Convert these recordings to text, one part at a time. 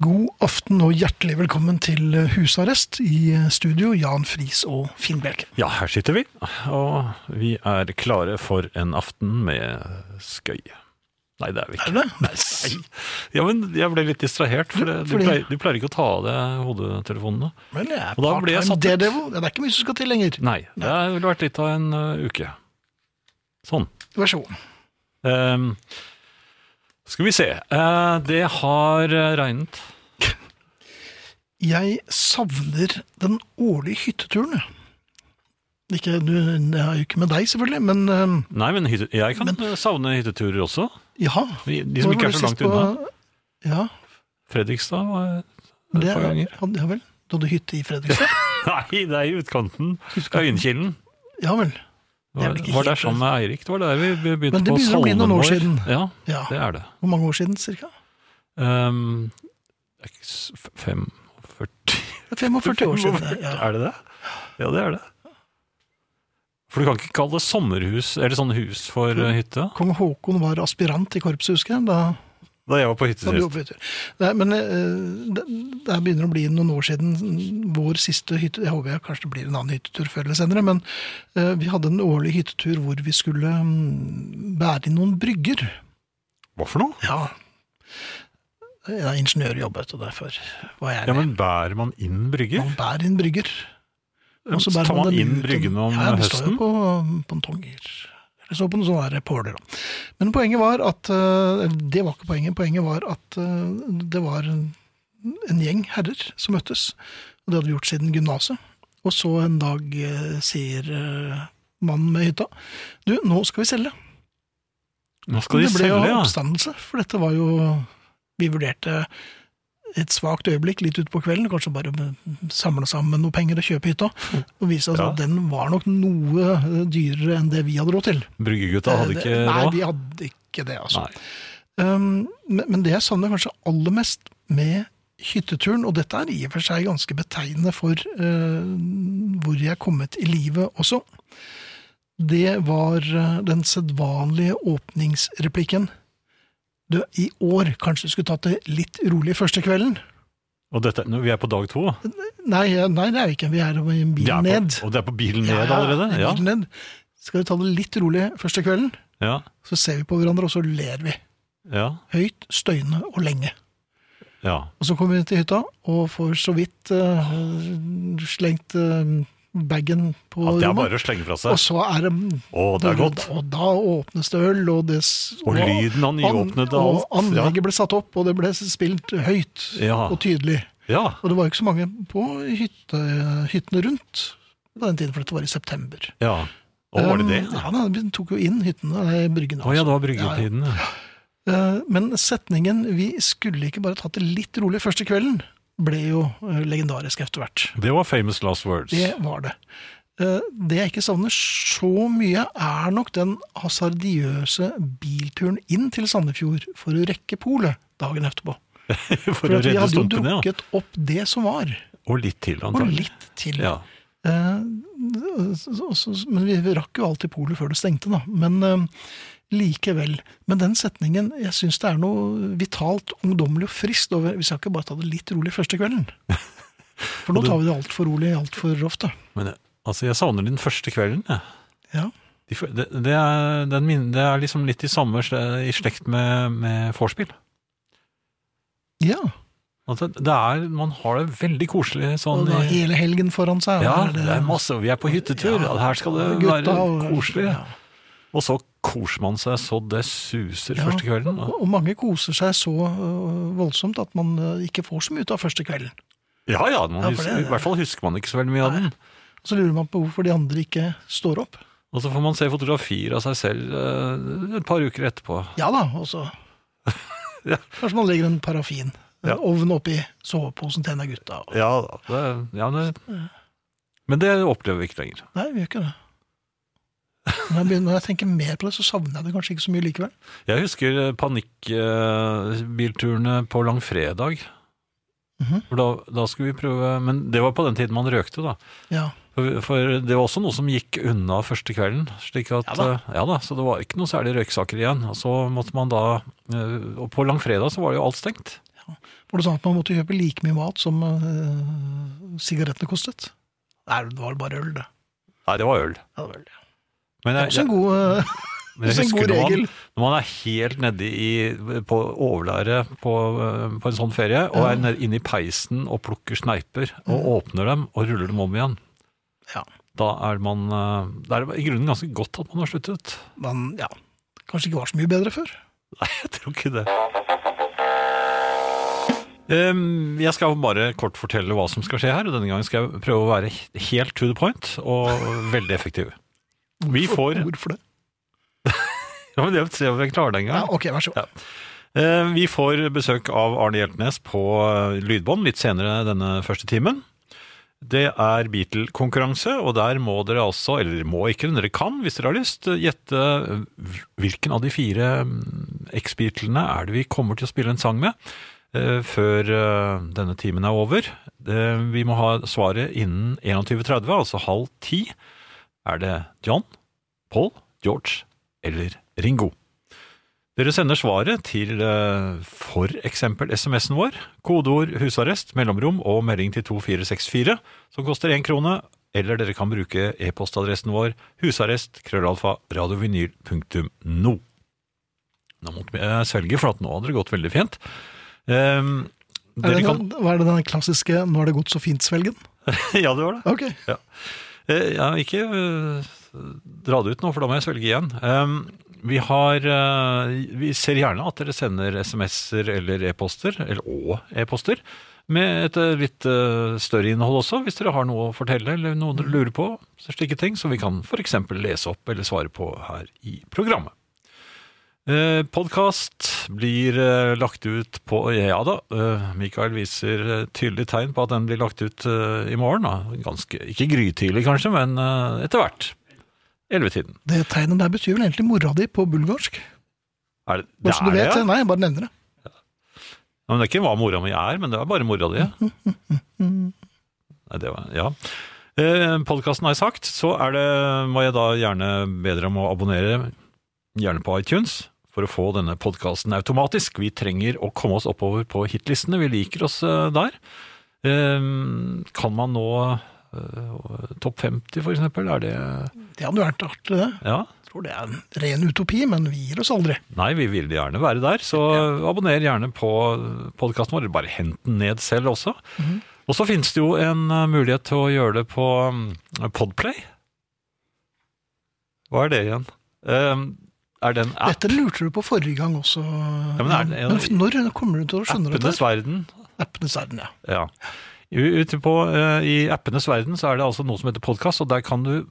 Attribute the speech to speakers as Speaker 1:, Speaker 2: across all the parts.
Speaker 1: God aften og hjertelig velkommen til husarrest i studio, Jan Friis og Finn Bjelke.
Speaker 2: Ja, her sitter vi, og vi er klare for en aften med skøy. Nei, det er vi
Speaker 1: Er
Speaker 2: ikke.
Speaker 1: det det?
Speaker 2: Nei. Ja, men jeg ble litt distrahert, for det, du,
Speaker 1: Fordi-
Speaker 2: pleier, du pleier ikke å ta av deg hodetelefonene.
Speaker 1: Vel, jeg er
Speaker 2: Og da ble jeg
Speaker 1: part-time
Speaker 2: satt ut.
Speaker 1: daredevil. Det er ikke mye som skal til lenger.
Speaker 2: Nei, det er- ville vært litt av en ø, uke. Sånn.
Speaker 1: Vær så god.
Speaker 2: Ehm, skal vi se. Eh, det har eh, regnet.
Speaker 1: Jeg savner den årlige hytteturen. jeg. Ikke, du, det er jo ikke med deg, selvfølgelig, men ehm, øhm,
Speaker 2: Nei, men hytte, jeg kan eh, savne hytteturer også.
Speaker 1: ja.
Speaker 2: De de som
Speaker 1: Når var
Speaker 2: ikke er
Speaker 1: du
Speaker 2: så
Speaker 1: sist
Speaker 2: langt
Speaker 1: på-
Speaker 2: unna.
Speaker 1: Ja,
Speaker 2: Fredrikstad var et
Speaker 1: det,
Speaker 2: par
Speaker 1: ja,
Speaker 2: ganger.
Speaker 1: ja vel. Du hadde hytte i Fredrikstad?
Speaker 2: Nei, det er i utkanten. Øyenkilen.
Speaker 1: Ja vel. Det er
Speaker 2: Var,
Speaker 1: vel ikke altså.
Speaker 2: var der
Speaker 1: helt
Speaker 2: sammen med Eirik. Det var der vi be- begynte
Speaker 1: Men det
Speaker 2: på
Speaker 1: begynner å bli noen år siden.
Speaker 2: Ja,
Speaker 1: Ja.
Speaker 2: det er det.
Speaker 1: Hvor mange år siden, cirka?
Speaker 2: Ehm, det er ikke s- f- 45
Speaker 1: Det er 45 år siden. Ja.
Speaker 2: Er det det? Ja, det er det. For du kan ikke kalle det sommerhus, eller sånn hus for eh, hytte?
Speaker 1: Kong Haakon var aspirant i korpset, husker jeg. Da
Speaker 2: Da jeg var på
Speaker 1: Da du
Speaker 2: hyttesist.
Speaker 1: oppfytter. Nei, men eh, det, det her begynner å bli noen år siden vår siste hytte. Jeg håper jeg kanskje det blir en annen hyttetur før eller senere, men eh, vi hadde en årlig hyttetur hvor vi skulle mm, bære inn noen brygger.
Speaker 2: Hva for noe?
Speaker 1: Ja. Jeg er ingeniørjobb, vet du, derfor var jeg
Speaker 2: Ja,
Speaker 1: med.
Speaker 2: men bærer man inn brygger?
Speaker 1: Man bærer inn brygger. og så bærer
Speaker 2: Tar man
Speaker 1: dem
Speaker 2: inn
Speaker 1: ut-
Speaker 2: bryggene om
Speaker 1: ja, det står jo
Speaker 2: høsten?
Speaker 1: på pontonger. Eller så på noen sånne der påler. da. Men poenget var at eh, Det var ikke poenget. Poenget var at eh, det var en en gjeng herrer som møttes. Og det hadde vi gjort siden gymnaset. Og så en dag eh, sier eh, mannen med hytta Du, nå skal vi selge.
Speaker 2: Nå skal de
Speaker 1: det ble jo
Speaker 2: selge, ja.
Speaker 1: oppstandelse, for dette var jo Vi vurderte et svakt øyeblikk litt utpå kvelden, kanskje bare samle sammen noe penger og kjøpe hytta. Og viste oss
Speaker 2: Mm. Ja.
Speaker 1: at den var nok noe eh, dyrere enn det vi hadde råd til.
Speaker 2: Bryggegutta hadde ikke
Speaker 1: Eh, Nei,
Speaker 2: råd?
Speaker 1: vi hadde ikke det, altså.
Speaker 2: Nei.
Speaker 1: Um, men, men det jeg savner kanskje aller mest med hytteturen, og dette er i og for seg ganske betegnende for eh, hvor jeg er kommet i livet også, det var eh, den sedvanlige åpningsreplikken. Du, I år kanskje du skulle tatt det litt rolig første kvelden?
Speaker 2: Og dette, nå, vi er på dag to.
Speaker 1: Nei, eh, nei det er vi ikke. Vi er i en
Speaker 2: Vi
Speaker 1: bil
Speaker 2: er
Speaker 1: ned.
Speaker 2: På, og det er på bilen
Speaker 1: Ja,
Speaker 2: ned allerede?
Speaker 1: en
Speaker 2: Ja.
Speaker 1: bil ned. Skal du ta det litt rolig første kvelden?
Speaker 2: ja.
Speaker 1: Så ser vi på hverandre, og så ler vi.
Speaker 2: ja.
Speaker 1: Høyt, støyende og lenge.
Speaker 2: Ja.
Speaker 1: Og så kommer vi til hytta og får så vidt eh, slengt eh, bagen på
Speaker 2: ja. Det er
Speaker 1: rommet.
Speaker 2: bare å slenge fra
Speaker 1: Og
Speaker 2: seg.
Speaker 1: så er det
Speaker 2: Å, det er godt.
Speaker 1: Og da åpnes det øl, og det s-
Speaker 2: Og lyden av nyåpnede
Speaker 1: Og
Speaker 2: alt.
Speaker 1: anlegget ble satt opp, og det ble spilt høyt
Speaker 2: Ja.
Speaker 1: og tydelig.
Speaker 2: Ja.
Speaker 1: Og det var jo ikke så mange på hytte, hyttene rundt på den tiden, for dette var i september.
Speaker 2: ja. Å, var det det?
Speaker 1: Um, Ja, da, vi tok jo inn hyttene, nei, bryggene. altså.
Speaker 2: Å ja, det
Speaker 1: Ja, ja.
Speaker 2: var bryggetiden. ja.
Speaker 1: Eh, Men setningen 'vi skulle ikke bare tatt det litt rolig første kvelden' ble jo eh, legendarisk etter hvert.
Speaker 2: Det var famous last words.
Speaker 1: Det var det. Eh, Det jeg ikke savner så mye, er nok den hasardiøse bilturen inn til Sandefjord for å rekke polet dagen etterpå.
Speaker 2: For
Speaker 1: For
Speaker 2: å
Speaker 1: at vi
Speaker 2: redde
Speaker 1: hadde jo
Speaker 2: stumpene, ja.
Speaker 1: drukket opp det som var,
Speaker 2: Og litt til,
Speaker 1: og
Speaker 2: antagelig.
Speaker 1: litt til.
Speaker 2: Ja.
Speaker 1: Eh, så- så- Men vi rakk jo alltid polet før det stengte, da. Men eh, likevel. Men den setningen Jeg syns det er noe vitalt, ungdommelig og friskt over Vi skal ikke bare ta det litt rolig første kvelden. For nå tar vi det altfor rolig altfor ofte.
Speaker 2: Men eh, altså, jeg savner den første kvelden, jeg.
Speaker 1: Ja.
Speaker 2: De fø- Det, det, er, den min, det er liksom litt i samme sle- i slekt med, med vorspiel.
Speaker 1: ja.
Speaker 2: At det, det er, man har det veldig koselig
Speaker 1: Og
Speaker 2: sånn
Speaker 1: da
Speaker 2: i,
Speaker 1: hele helgen foran seg. og
Speaker 2: Ja,
Speaker 1: er
Speaker 2: det er masse. og Vi er på hyttetur,
Speaker 1: Ja.
Speaker 2: og her skal det
Speaker 1: Gutta
Speaker 2: være
Speaker 1: og-
Speaker 2: koselig.
Speaker 1: ja.
Speaker 2: Og så koser man seg så det suser
Speaker 1: Ja.
Speaker 2: første kvelden.
Speaker 1: Og og mange koser seg så øh, voldsomt at man øh, ikke får så mye ut av første kvelden.
Speaker 2: Ja, ja, man
Speaker 1: Ja, for
Speaker 2: husker,
Speaker 1: det-
Speaker 2: i hvert fall husker man ikke så veldig mye av
Speaker 1: Nei.
Speaker 2: den.
Speaker 1: Så lurer man på hvorfor de andre ikke står opp.
Speaker 2: Og så får man se fotografier av seg selv eh, et par uker etterpå.
Speaker 1: Ja da, og så
Speaker 2: Ja.
Speaker 1: Kanskje man legger en parafin, en
Speaker 2: Ja.
Speaker 1: ovn oppi soveposen til en av gutta. og-
Speaker 2: Ja da. Det, ja, det, men det opplever vi ikke lenger.
Speaker 1: Nei, vi gjør ikke det. Når jeg, begynner, når jeg tenker mer på det, så savner jeg det kanskje ikke så mye likevel.
Speaker 2: Jeg husker eh, panikkbilturene på langfredag.
Speaker 1: Mhm.
Speaker 2: For da, da skulle vi prøve Men det var på den tiden man røkte, da.
Speaker 1: Ja,
Speaker 2: For, for det var også noe som gikk unna første kvelden. Slik at,
Speaker 1: Ja
Speaker 2: ja,
Speaker 1: da.
Speaker 2: da. ja da, Så det var ikke noe særlig røyksaker igjen. Og så måtte man da eh, Og på langfredag så var jo alt stengt.
Speaker 1: Var det sånn at man måtte kjøpe like mye mat som eh, sigarettene kostet? Nei, det var bare øl, det.
Speaker 2: Nei, det var øl.
Speaker 1: Ja, det var øl, ja.
Speaker 2: Men
Speaker 1: Det er
Speaker 2: jeg,
Speaker 1: også en god, eh,
Speaker 2: men jeg
Speaker 1: også en
Speaker 2: husker
Speaker 1: god
Speaker 2: når man,
Speaker 1: regel.
Speaker 2: når man er helt nedi i, på overlæret på, eh, på en sånn ferie, og
Speaker 1: Ja. Mm.
Speaker 2: er ned, inne i peisen og plukker sneiper, og åpner dem og ruller dem om igjen,
Speaker 1: Ja,
Speaker 2: da er man eh, Det er i grunnen ganske godt at man har sluttet.
Speaker 1: men ja, kanskje ikke var så mye bedre før.
Speaker 2: Nei, jeg tror ikke det. Ehm, Jeg skal bare kort fortelle hva som skal skje her. og Denne gangen skal jeg prøve å være helt to the point og veldig effektiv. Vi får
Speaker 1: Hvorfor det?
Speaker 2: Ja, men det Se om jeg klarer det en
Speaker 1: Ja,
Speaker 2: gang.
Speaker 1: ok, vær så god.
Speaker 2: Ja. Eh, Vi får besøk av Arne Hjeltnes på eh, lydbånd litt senere denne første timen. Det er Beatle-konkurranse, og der må dere altså, eller må ikke, men dere kan hvis dere har lyst, eh, gjette eh, hvilken av de fire mm, X-Beatlene er det vi kommer til å spille en sang med eh, før eh, denne timen er over. Eh, Vi må ha svaret innen 21.30, altså halv ti. Er det John, Paul, George eller Ringo? Dere sender svaret til eh, for eksempel SMS-en vår, kodeord husarrest, mellomrom og melding til 2464, som koster én krone, eller dere kan bruke e-postadressen vår husarrest krøllalfa radiovinyl.no. Nå måtte jeg svelge, for at nå hadde det gått veldig fint. Ehm,
Speaker 1: Er
Speaker 2: dere
Speaker 1: det
Speaker 2: kan,
Speaker 1: den, hva er det den klassiske 'nå har det gått så fint'-svelgen?
Speaker 2: ja, det var det.
Speaker 1: Ok,
Speaker 2: Eh, Ja, ikke eh, dra det ut nå, for da må jeg svelge igjen. Um, vi, har, eh, vi ser gjerne at dere sender SMS-er eller e-poster, eller og e-poster, med et eh, litt eh, større innhold også, hvis dere har noe å fortelle eller noe dere lurer på, så slike ting, som vi kan f.eks. lese opp eller svare på her i programmet. Eh, Podkast blir eh, lagt ut på Ja da, eh, Mikael viser eh, tydelig tegn på at den blir lagt ut eh, i morgen. Da. Ganske, ikke grytidlig kanskje, men eh, etter hvert. Ellevetiden.
Speaker 1: Det tegnet der betyr vel egentlig mora di på bulgarsk?
Speaker 2: Er det,
Speaker 1: Bare
Speaker 2: det
Speaker 1: så du
Speaker 2: er det,
Speaker 1: vet
Speaker 2: ja?
Speaker 1: det. Nei, jeg bare nevner det.
Speaker 2: Ja, men det er ikke hva mora mi er, men det er bare mora di. ja. Nei, det var, ja. Eh, Podkasten er sagt, så er det, må jeg da gjerne be dere om å abonnere, gjerne på iTunes, for å få denne podkasten automatisk. Vi trenger å komme oss oppover på hitlistene, vi liker oss eh, der. Eh, kan man nå eh, topp 50 for eksempel, er det
Speaker 1: Det hadde jo vært artig, det.
Speaker 2: Ja?
Speaker 1: Jeg tror det er en ren utopi, men vi gir oss aldri.
Speaker 2: Nei, vi vil gjerne være der, så abonner gjerne på podkasten vår. Bare hent den ned selv også.
Speaker 1: Mhm.
Speaker 2: Og så finnes det jo en eh, mulighet til å gjøre det på mm, Podplay. Hva er det igjen? Eh, er det en app?
Speaker 1: Dette lurte du på forrige gang også.
Speaker 2: men er det- er det-
Speaker 1: Men når kommer du til å skjønne dette?
Speaker 2: Appenes verden.
Speaker 1: Appenes verden, ja.
Speaker 2: Ja. U- Ute på, eh, I appenes verden så er det altså noe som heter podkast, og der kan du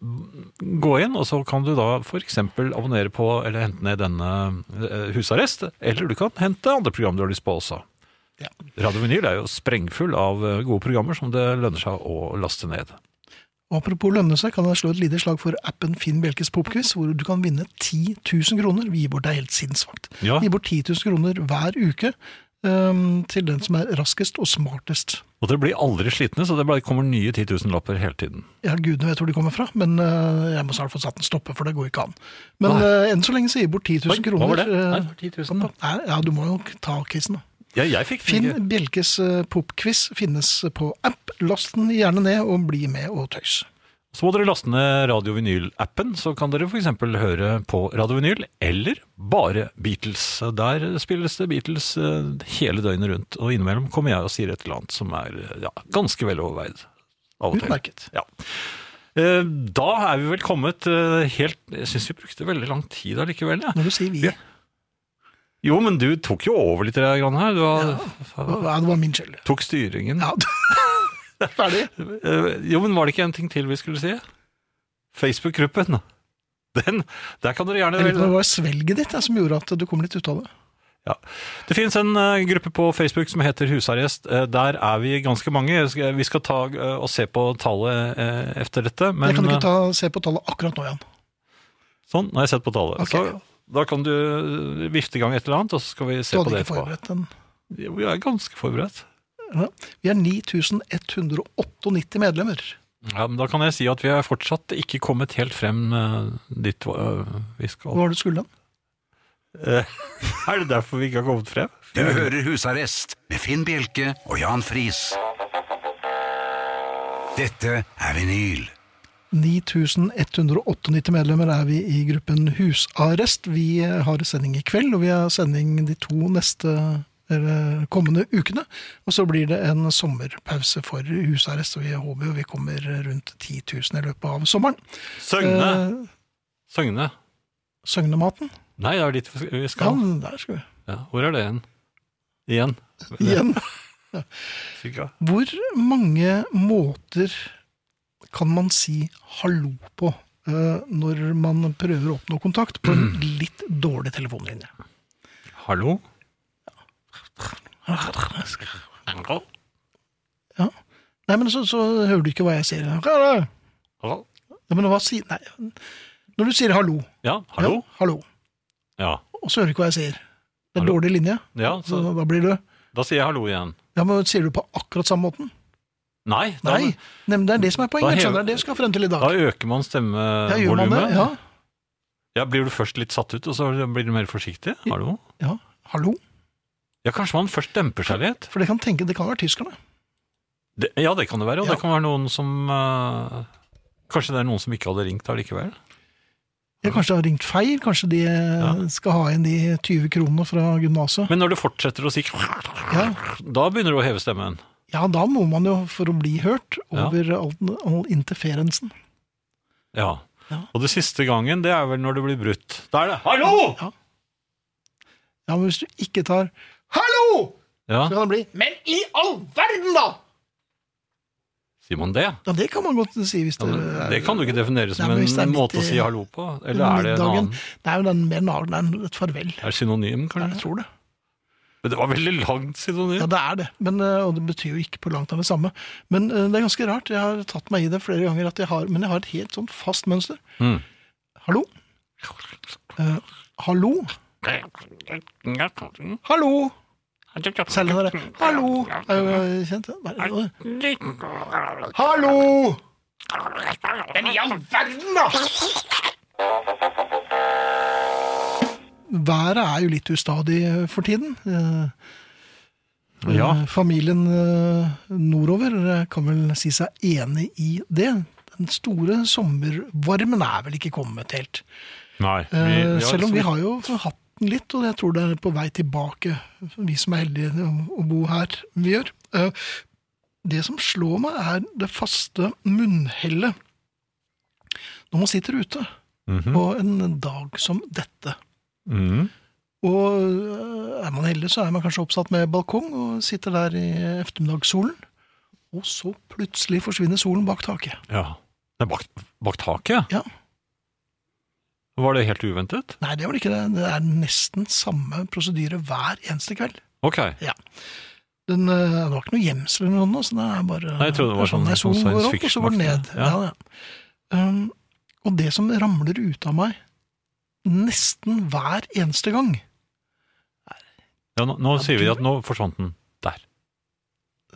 Speaker 2: gå inn, og så kan du da f.eks. abonnere på eller hente ned denne eh, Husarrest, eller du kan hente andre program du har lyst på også.
Speaker 1: Ja.
Speaker 2: Radio Vinyl er jo sprengfull av eh, gode programmer som det lønner seg å laste ned.
Speaker 1: Og apropos lønne seg, kan jeg slå et lite slag for appen Finn Bjelkes popquiz, hvor du kan vinne 10 000 kroner. Vi gir bort det er helt sinnssvakt.
Speaker 2: Ja.
Speaker 1: Vi gir bort 10 000 kroner hver uke øhm, til den som er raskest og smartest.
Speaker 2: Og dere blir aldri slitne, så det bare kommer nye 10 000-lapper hele tiden.
Speaker 1: Ja, gudene vet hvor de kommer fra, men øh, jeg må snart få satt en stopper, for det går ikke an. Men øh, enn så lenge så gir vi bort 10 000
Speaker 2: Oi, hva
Speaker 1: kroner.
Speaker 2: var det?
Speaker 1: øh,
Speaker 2: Nei, 10 000 da.
Speaker 1: Nei, ja, du må jo ta casen, da.
Speaker 2: Jeg, jeg fikk
Speaker 1: Finn Bjelkes øh, popquiz finnes på app. Last den gjerne ned, og bli med og tøys.
Speaker 2: Så må dere laste ned Radio Vinyl-appen, så kan dere f.eks. høre på Radio Vinyl, eller bare Beatles. Der spilles det Beatles eh, hele døgnet rundt, og innimellom kommer jeg og sier et eller annet som er eh, ja, ganske veloverveid. Av og til.
Speaker 1: Utmerket.
Speaker 2: Ja. Eh, Da er vi vel kommet eh, helt Jeg syns vi brukte veldig lang tid allikevel. Ja.
Speaker 1: Når du sier vi,
Speaker 2: Ja. Jo, men du tok jo over litt eh, grann her. Du har,
Speaker 1: ja, det var min skyld.
Speaker 2: tok styringen.
Speaker 1: Ja, ferdig.
Speaker 2: Eh, Jo, men var det ikke en ting til vi skulle si? Facebook-gruppen. Den, der kan dere gjerne
Speaker 1: Jeg lurer på om det var svelget ditt jeg, som gjorde at du kom litt ut av det.
Speaker 2: Ja. Det finnes en eh, gruppe på Facebook som heter Husarrest. Eh, der er vi ganske mange. Jeg skal- Vi skal ta eh, og se på tallet eh, efter dette. Men
Speaker 1: jeg kan ikke ta, se på tallet akkurat nå, Jan.
Speaker 2: eh, sånn, nå har jeg sett på tallet.
Speaker 1: Ok.
Speaker 2: Så da kan du eh, vifte i gang et eller annet, og så skal vi
Speaker 1: Du
Speaker 2: se på
Speaker 1: hadde
Speaker 2: det
Speaker 1: ikke
Speaker 2: etterpå.
Speaker 1: forberedt den.
Speaker 2: Jo, Vi er ganske forberedt.
Speaker 1: Vi er 9198 medlemmer.
Speaker 2: Ja, men da kan jeg si at vi er fortsatt ikke kommet helt frem eh, dit eh, vi
Speaker 1: Hva
Speaker 2: skal.
Speaker 1: var det du skulle den?
Speaker 2: Eh, er det derfor vi ikke har kommet frem?
Speaker 3: Du hører Husarrest med Finn Bjelke og Jan Friis. Dette er vinyl.
Speaker 1: 9198 medlemmer er vi i gruppen Husarrest. Vi har sending i kveld, og vi har sending de to neste eller kommende ukene. Og så blir det en sommerpause for husarrest, og vi håper jo vi kommer rundt 10 000 i løpet av sommeren.
Speaker 2: Søgne!
Speaker 1: Eh,
Speaker 2: Søgne.
Speaker 1: Søgnematen?
Speaker 2: Nei, det er dit vi
Speaker 1: Ja,
Speaker 2: skal.
Speaker 1: der skal vi.
Speaker 2: Ja, hvor er det igjen? Igjen.
Speaker 1: Igjen.
Speaker 2: Cirka.
Speaker 1: Hvor mange måter kan man si hallo på eh, når man prøver å oppnå kontakt på en litt dårlig telefonlinje?
Speaker 2: Hallo? Hallo?
Speaker 1: Nei, men så, så hører du ikke hva jeg sier. Nei,
Speaker 2: Hallo?
Speaker 1: men hva sier Nei. Når du sier hallo,
Speaker 2: Ja, hallo?
Speaker 1: Ja, hallo
Speaker 2: Ja.
Speaker 1: og så hører du ikke hva jeg sier. Det er en
Speaker 2: Hallo.
Speaker 1: dårlig linje.
Speaker 2: ja
Speaker 1: Så
Speaker 2: så,
Speaker 1: da blir du
Speaker 2: da sier jeg hallo igjen.
Speaker 1: Ja, men Sier du på akkurat samme måten?
Speaker 2: Nei, da,
Speaker 1: Nei. Nei, men det er det som er poenget.
Speaker 2: Da hever-
Speaker 1: skjønner du, Det er det vi skal frem til i dag.
Speaker 2: da øker man
Speaker 1: Ja, gjør man det?
Speaker 2: stemmevolumet.
Speaker 1: Ja.
Speaker 2: Ja, blir du først litt satt ut, og så blir du mer forsiktig? Hallo?
Speaker 1: ja. Hallo?
Speaker 2: Ja, kanskje man først demper seg litt?
Speaker 1: For det kan tenke, det kan være tyskerne.
Speaker 2: Det, ja, det kan det være, og
Speaker 1: Ja.
Speaker 2: det kan være noen som eh, Kanskje det er noen som ikke hadde ringt allikevel?
Speaker 1: Ja, kanskje det har ringt feil, kanskje de eh, skal ha igjen de 20 kronene fra gymnaset.
Speaker 2: Men når du fortsetter å si
Speaker 1: Ja.
Speaker 2: Da begynner du å heve stemmen.
Speaker 1: ja, da må man jo, for å bli hørt,
Speaker 2: Ja.
Speaker 1: over all, all interferensen.
Speaker 2: Ja.
Speaker 1: Ja.
Speaker 2: Og det siste gangen, det er vel når det blir brutt. Da er det 'hallo'!
Speaker 1: Ja, men hvis du ikke tar Hallo!
Speaker 2: Ja,
Speaker 1: Så kan det bli Men i all verden, da!
Speaker 2: Sier man det?
Speaker 1: Ja, det kan man godt si hvis
Speaker 2: Ja,
Speaker 1: det
Speaker 2: men det kan du ikke definere som
Speaker 1: Nei, men hvis det er eh,
Speaker 2: en
Speaker 1: midt
Speaker 2: måte å
Speaker 1: i-
Speaker 2: si hallo på. Eller er det en annen?
Speaker 1: Det er jo den mer navn, det er en- et farvel.
Speaker 2: Er det synonym,
Speaker 1: Ja,
Speaker 2: kanskje?
Speaker 1: jeg tror det.
Speaker 2: Men det var veldig langt
Speaker 1: Ja,
Speaker 2: synonym.
Speaker 1: det er det. Men, eh, og det betyr jo ikke på langt av det samme. Men eh, det er ganske rart. Jeg har tatt meg i det flere ganger, at jeg har, men jeg har et helt sånn fast mønster.
Speaker 2: Mm.
Speaker 1: Hallo? Eh, hallo? Hallo! Selv den derre Hallo! Er jo eh, kjent. det. Hva er det? Hallo! Men i all verden, da! Været er jo litt ustadig eh, for tiden. Eh,
Speaker 2: Ja.
Speaker 1: Eh, Familien eh, nordover eh, kan vel si seg enig i det. Den store sommervarmen er vel ikke kommet helt.
Speaker 2: Nei.
Speaker 1: Eh,
Speaker 2: vi- vi har
Speaker 1: Selv om vi
Speaker 2: liksom-
Speaker 1: har jo hatt den litt, og jeg tror det er på vei tilbake, vi som er heldige å- å bo her, vi gjør. Eh, Det som slår meg, er det faste munnhellet når man sitter ute
Speaker 2: Mhm.
Speaker 1: på en dag som dette.
Speaker 2: Mhm.
Speaker 1: Og øh, er man heldig, så er man kanskje oppsatt med balkong og sitter der i ettermiddagssolen. Og så plutselig forsvinner solen bak taket.
Speaker 2: Ja. Det er bak, bak taket?
Speaker 1: Ja.
Speaker 2: Var det helt uventet?
Speaker 1: Nei, det var det ikke det. Det er nesten samme prosedyre hver eneste kveld.
Speaker 2: Ok.
Speaker 1: Den, øh, det var ikke noe gjemsel eller noe, så det er bare
Speaker 2: Nei, jeg trodde det var sånn-
Speaker 1: Nei, solen går
Speaker 2: sånn science
Speaker 1: opp, og så går den ned.
Speaker 2: fiction-aktig.
Speaker 1: Ja.
Speaker 2: Ja.
Speaker 1: Ja, Um, og det som ramler ut av meg nesten hver eneste gang
Speaker 2: Ja, nå nå sier vi at nå forsvant den. Der.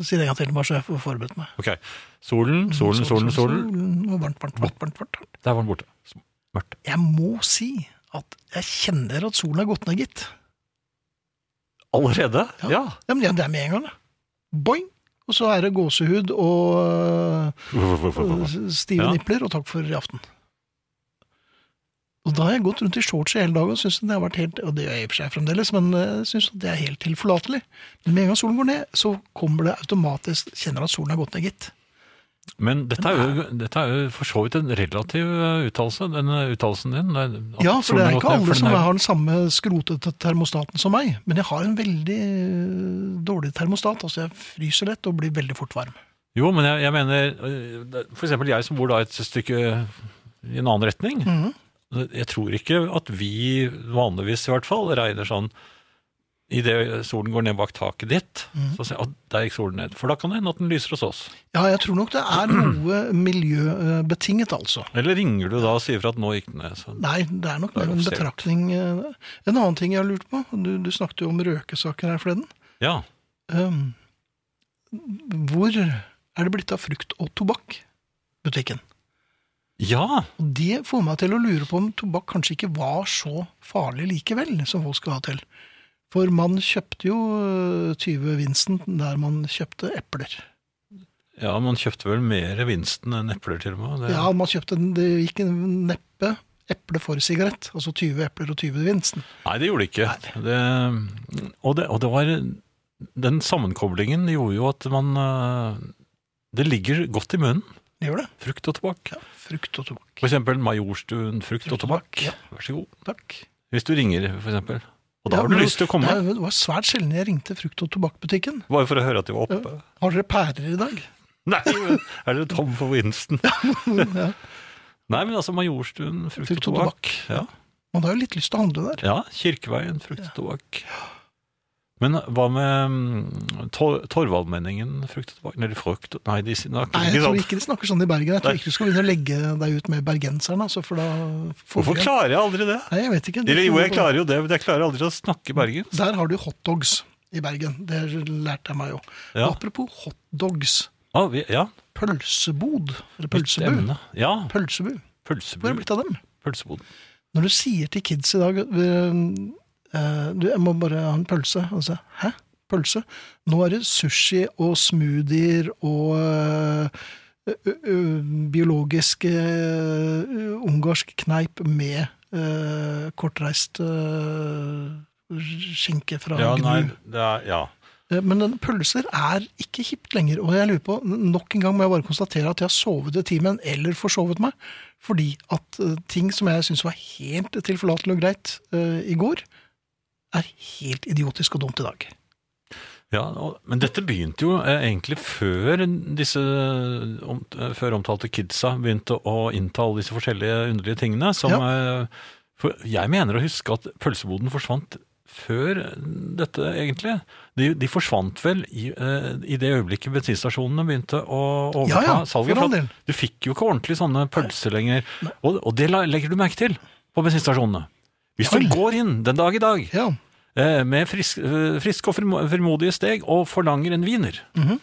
Speaker 1: Sier jeg en gang til, bare så jeg får forberedt meg.
Speaker 2: Ok. Solen, solen, solen, solen.
Speaker 1: Mm, solen. Og varmt, varmt, varmt, varmt, varmt.
Speaker 2: Der var den borte. Mørkt.
Speaker 1: Jeg må si at jeg kjenner at solen har gått ned, gitt.
Speaker 2: Allerede?
Speaker 1: Ja.
Speaker 2: Ja.
Speaker 1: Ja, men det er med en gang, da. Boing! Og så er det gåsehud og øh, stive
Speaker 2: Ja.
Speaker 1: nipler, og takk for i aften. Og da har jeg gått rundt i shorts i hele dag og syns det har vært helt Og det gjør jeg i og for seg fremdeles, men jeg syns det er helt tilforlatelig. Men med en gang solen går ned, så kommer det automatisk Kjenner at solen har gått ned, gitt.
Speaker 2: Men dette er, jo, dette er jo for så vidt en relativ eh, uttalelse, denne uttalelsen din. Det er- at
Speaker 1: Ja, for det
Speaker 2: solen
Speaker 1: er
Speaker 2: har
Speaker 1: ikke
Speaker 2: gått ned,
Speaker 1: alle
Speaker 2: for
Speaker 1: som
Speaker 2: den er-
Speaker 1: har den samme skrotete termostaten som meg, men jeg har en veldig øh, dårlig termostat. Altså, jeg fryser lett og blir veldig fort varm.
Speaker 2: Jo, men jeg, jeg mener eh, det- For eksempel jeg som bor da et stykke øh, i en annen retning. Jeg tror ikke at vi, vanligvis i hvert fall, regner sånn idet solen går ned bak taket ditt, så sier jeg at der gikk solen ned. For da kan det hende at den lyser hos oss.
Speaker 1: Ja, jeg tror nok det er noe miljøbetinget, altså.
Speaker 2: Eller ringer du da og sier fra at nå gikk den ned. Så.
Speaker 1: Nei, det er nok
Speaker 2: Det
Speaker 1: mer
Speaker 2: er
Speaker 1: en
Speaker 2: offisielt.
Speaker 1: betraktning. eh, En annen ting jeg har lurt på, du, du snakket jo om røkesaker her forleden.
Speaker 2: Ja.
Speaker 1: Um, hvor er det blitt av frukt- og tobakkbutikken?
Speaker 2: ja!
Speaker 1: Og det får meg til å lure på om tobakk kanskje ikke var så farlig likevel, som folk skal ha til. For man kjøpte jo eh, 20 Vincent der man kjøpte epler.
Speaker 2: Ja, man kjøpte vel mer Winston enn epler, til og med. Det,
Speaker 1: Ja, man kjøpte den, det gikk en neppe eple for sigarett. Altså 20 epler og 20 Vincent.
Speaker 2: Nei, det gjorde det ikke. Det, og, det, og det var Den sammenkoblingen gjorde jo at man eh, Det ligger godt i munnen.
Speaker 1: Det gjør det.
Speaker 2: Frukt og tobakk.
Speaker 1: Frukt og tobakk.
Speaker 2: For eksempel Majorstuen frukt og tobakk.
Speaker 1: Ja.
Speaker 2: Vær så god.
Speaker 1: Takk.
Speaker 2: Hvis du ringer, for eksempel. Og da
Speaker 1: Ja,
Speaker 2: har du
Speaker 1: men
Speaker 2: lyst til å komme.
Speaker 1: Det var svært sjelden jeg ringte frukt- og tobakkbutikken.
Speaker 2: Bare for å høre at de var oppe.
Speaker 1: Har dere pærer i dag?
Speaker 2: Nei, men er dere tom for Winston?
Speaker 1: ja.
Speaker 2: Nei, men altså Majorstuen frukt,
Speaker 1: Frukt
Speaker 2: og
Speaker 1: og
Speaker 2: tobakk. Ja.
Speaker 1: Man har jo litt lyst til å handle der.
Speaker 2: ja, Kirkeveien frukt og tobakk. Men hva med mm, Tor Torvaldmenningen frukt og tobakk? Nei, frukt Nei, de sier det er
Speaker 1: Nei,
Speaker 2: ikke
Speaker 1: jeg tror
Speaker 2: sant.
Speaker 1: ikke de snakker sånn i Bergen. Jeg tror
Speaker 2: Nei.
Speaker 1: ikke du skal begynne å legge deg ut med bergenseren, altså, for da får
Speaker 2: Hvorfor
Speaker 1: vi-
Speaker 2: klarer jeg aldri det?
Speaker 1: Nei, jeg vet ikke.
Speaker 2: Eller jo, jeg klarer jo det, men jeg klarer aldri å snakke Bergen.
Speaker 1: Der har du hotdogs i Bergen. Det lærte jeg meg jo.
Speaker 2: Ja.
Speaker 1: Og Apropos hotdogs.
Speaker 2: Ah, vi, ja,
Speaker 1: Pølsebod. Eller
Speaker 2: mitt
Speaker 1: pølsebu.
Speaker 2: emne. Ja,
Speaker 1: Pølsebu. Hvor er det
Speaker 2: pølsebod.
Speaker 1: blitt av dem?
Speaker 2: Pølseboden.
Speaker 1: Når du sier til kids i dag eh, eh, du, jeg må bare ha en pølse, og så hæ? Pølse? Nå er det sushi og smoothier og eh, ø- ø- biologisk eh, ø- ungarsk kneip med eh, kortreist eh, skinke fra
Speaker 2: Ja,
Speaker 1: Gnu.
Speaker 2: nei, det er Ja.
Speaker 1: Eh, Men den- pølser er ikke hipt lenger, og jeg lurer på, nok en gang må jeg bare konstatere at jeg har sovet i timen, eller forsovet meg, fordi at eh, ting som jeg syns var helt tilforlatelig og greit eh, i går, er helt idiotisk og dumt i dag.
Speaker 2: Ja, og, men dette begynte jo eh, egentlig før disse om, eh, før omtalte kidsa begynte å innta alle disse forskjellige underlige tingene. Som, eh, for jeg mener å huske at pølseboden forsvant før dette, egentlig. De, de forsvant vel i, eh, i det øyeblikket bensinstasjonene begynte å
Speaker 1: Ja,
Speaker 2: overta
Speaker 1: ja,
Speaker 2: salget.
Speaker 1: for all
Speaker 2: at
Speaker 1: del.
Speaker 2: du fikk jo ikke ordentlig sånne pølser lenger. Og, og det la- legger du merke til på bensinstasjonene. Hvis
Speaker 1: Ja
Speaker 2: du
Speaker 1: vel.
Speaker 2: går inn den dag i dag
Speaker 1: Ja,
Speaker 2: eh, med frisk, eh, frisk og frimo- frimodige steg og forlanger en wiener.
Speaker 1: Mhm.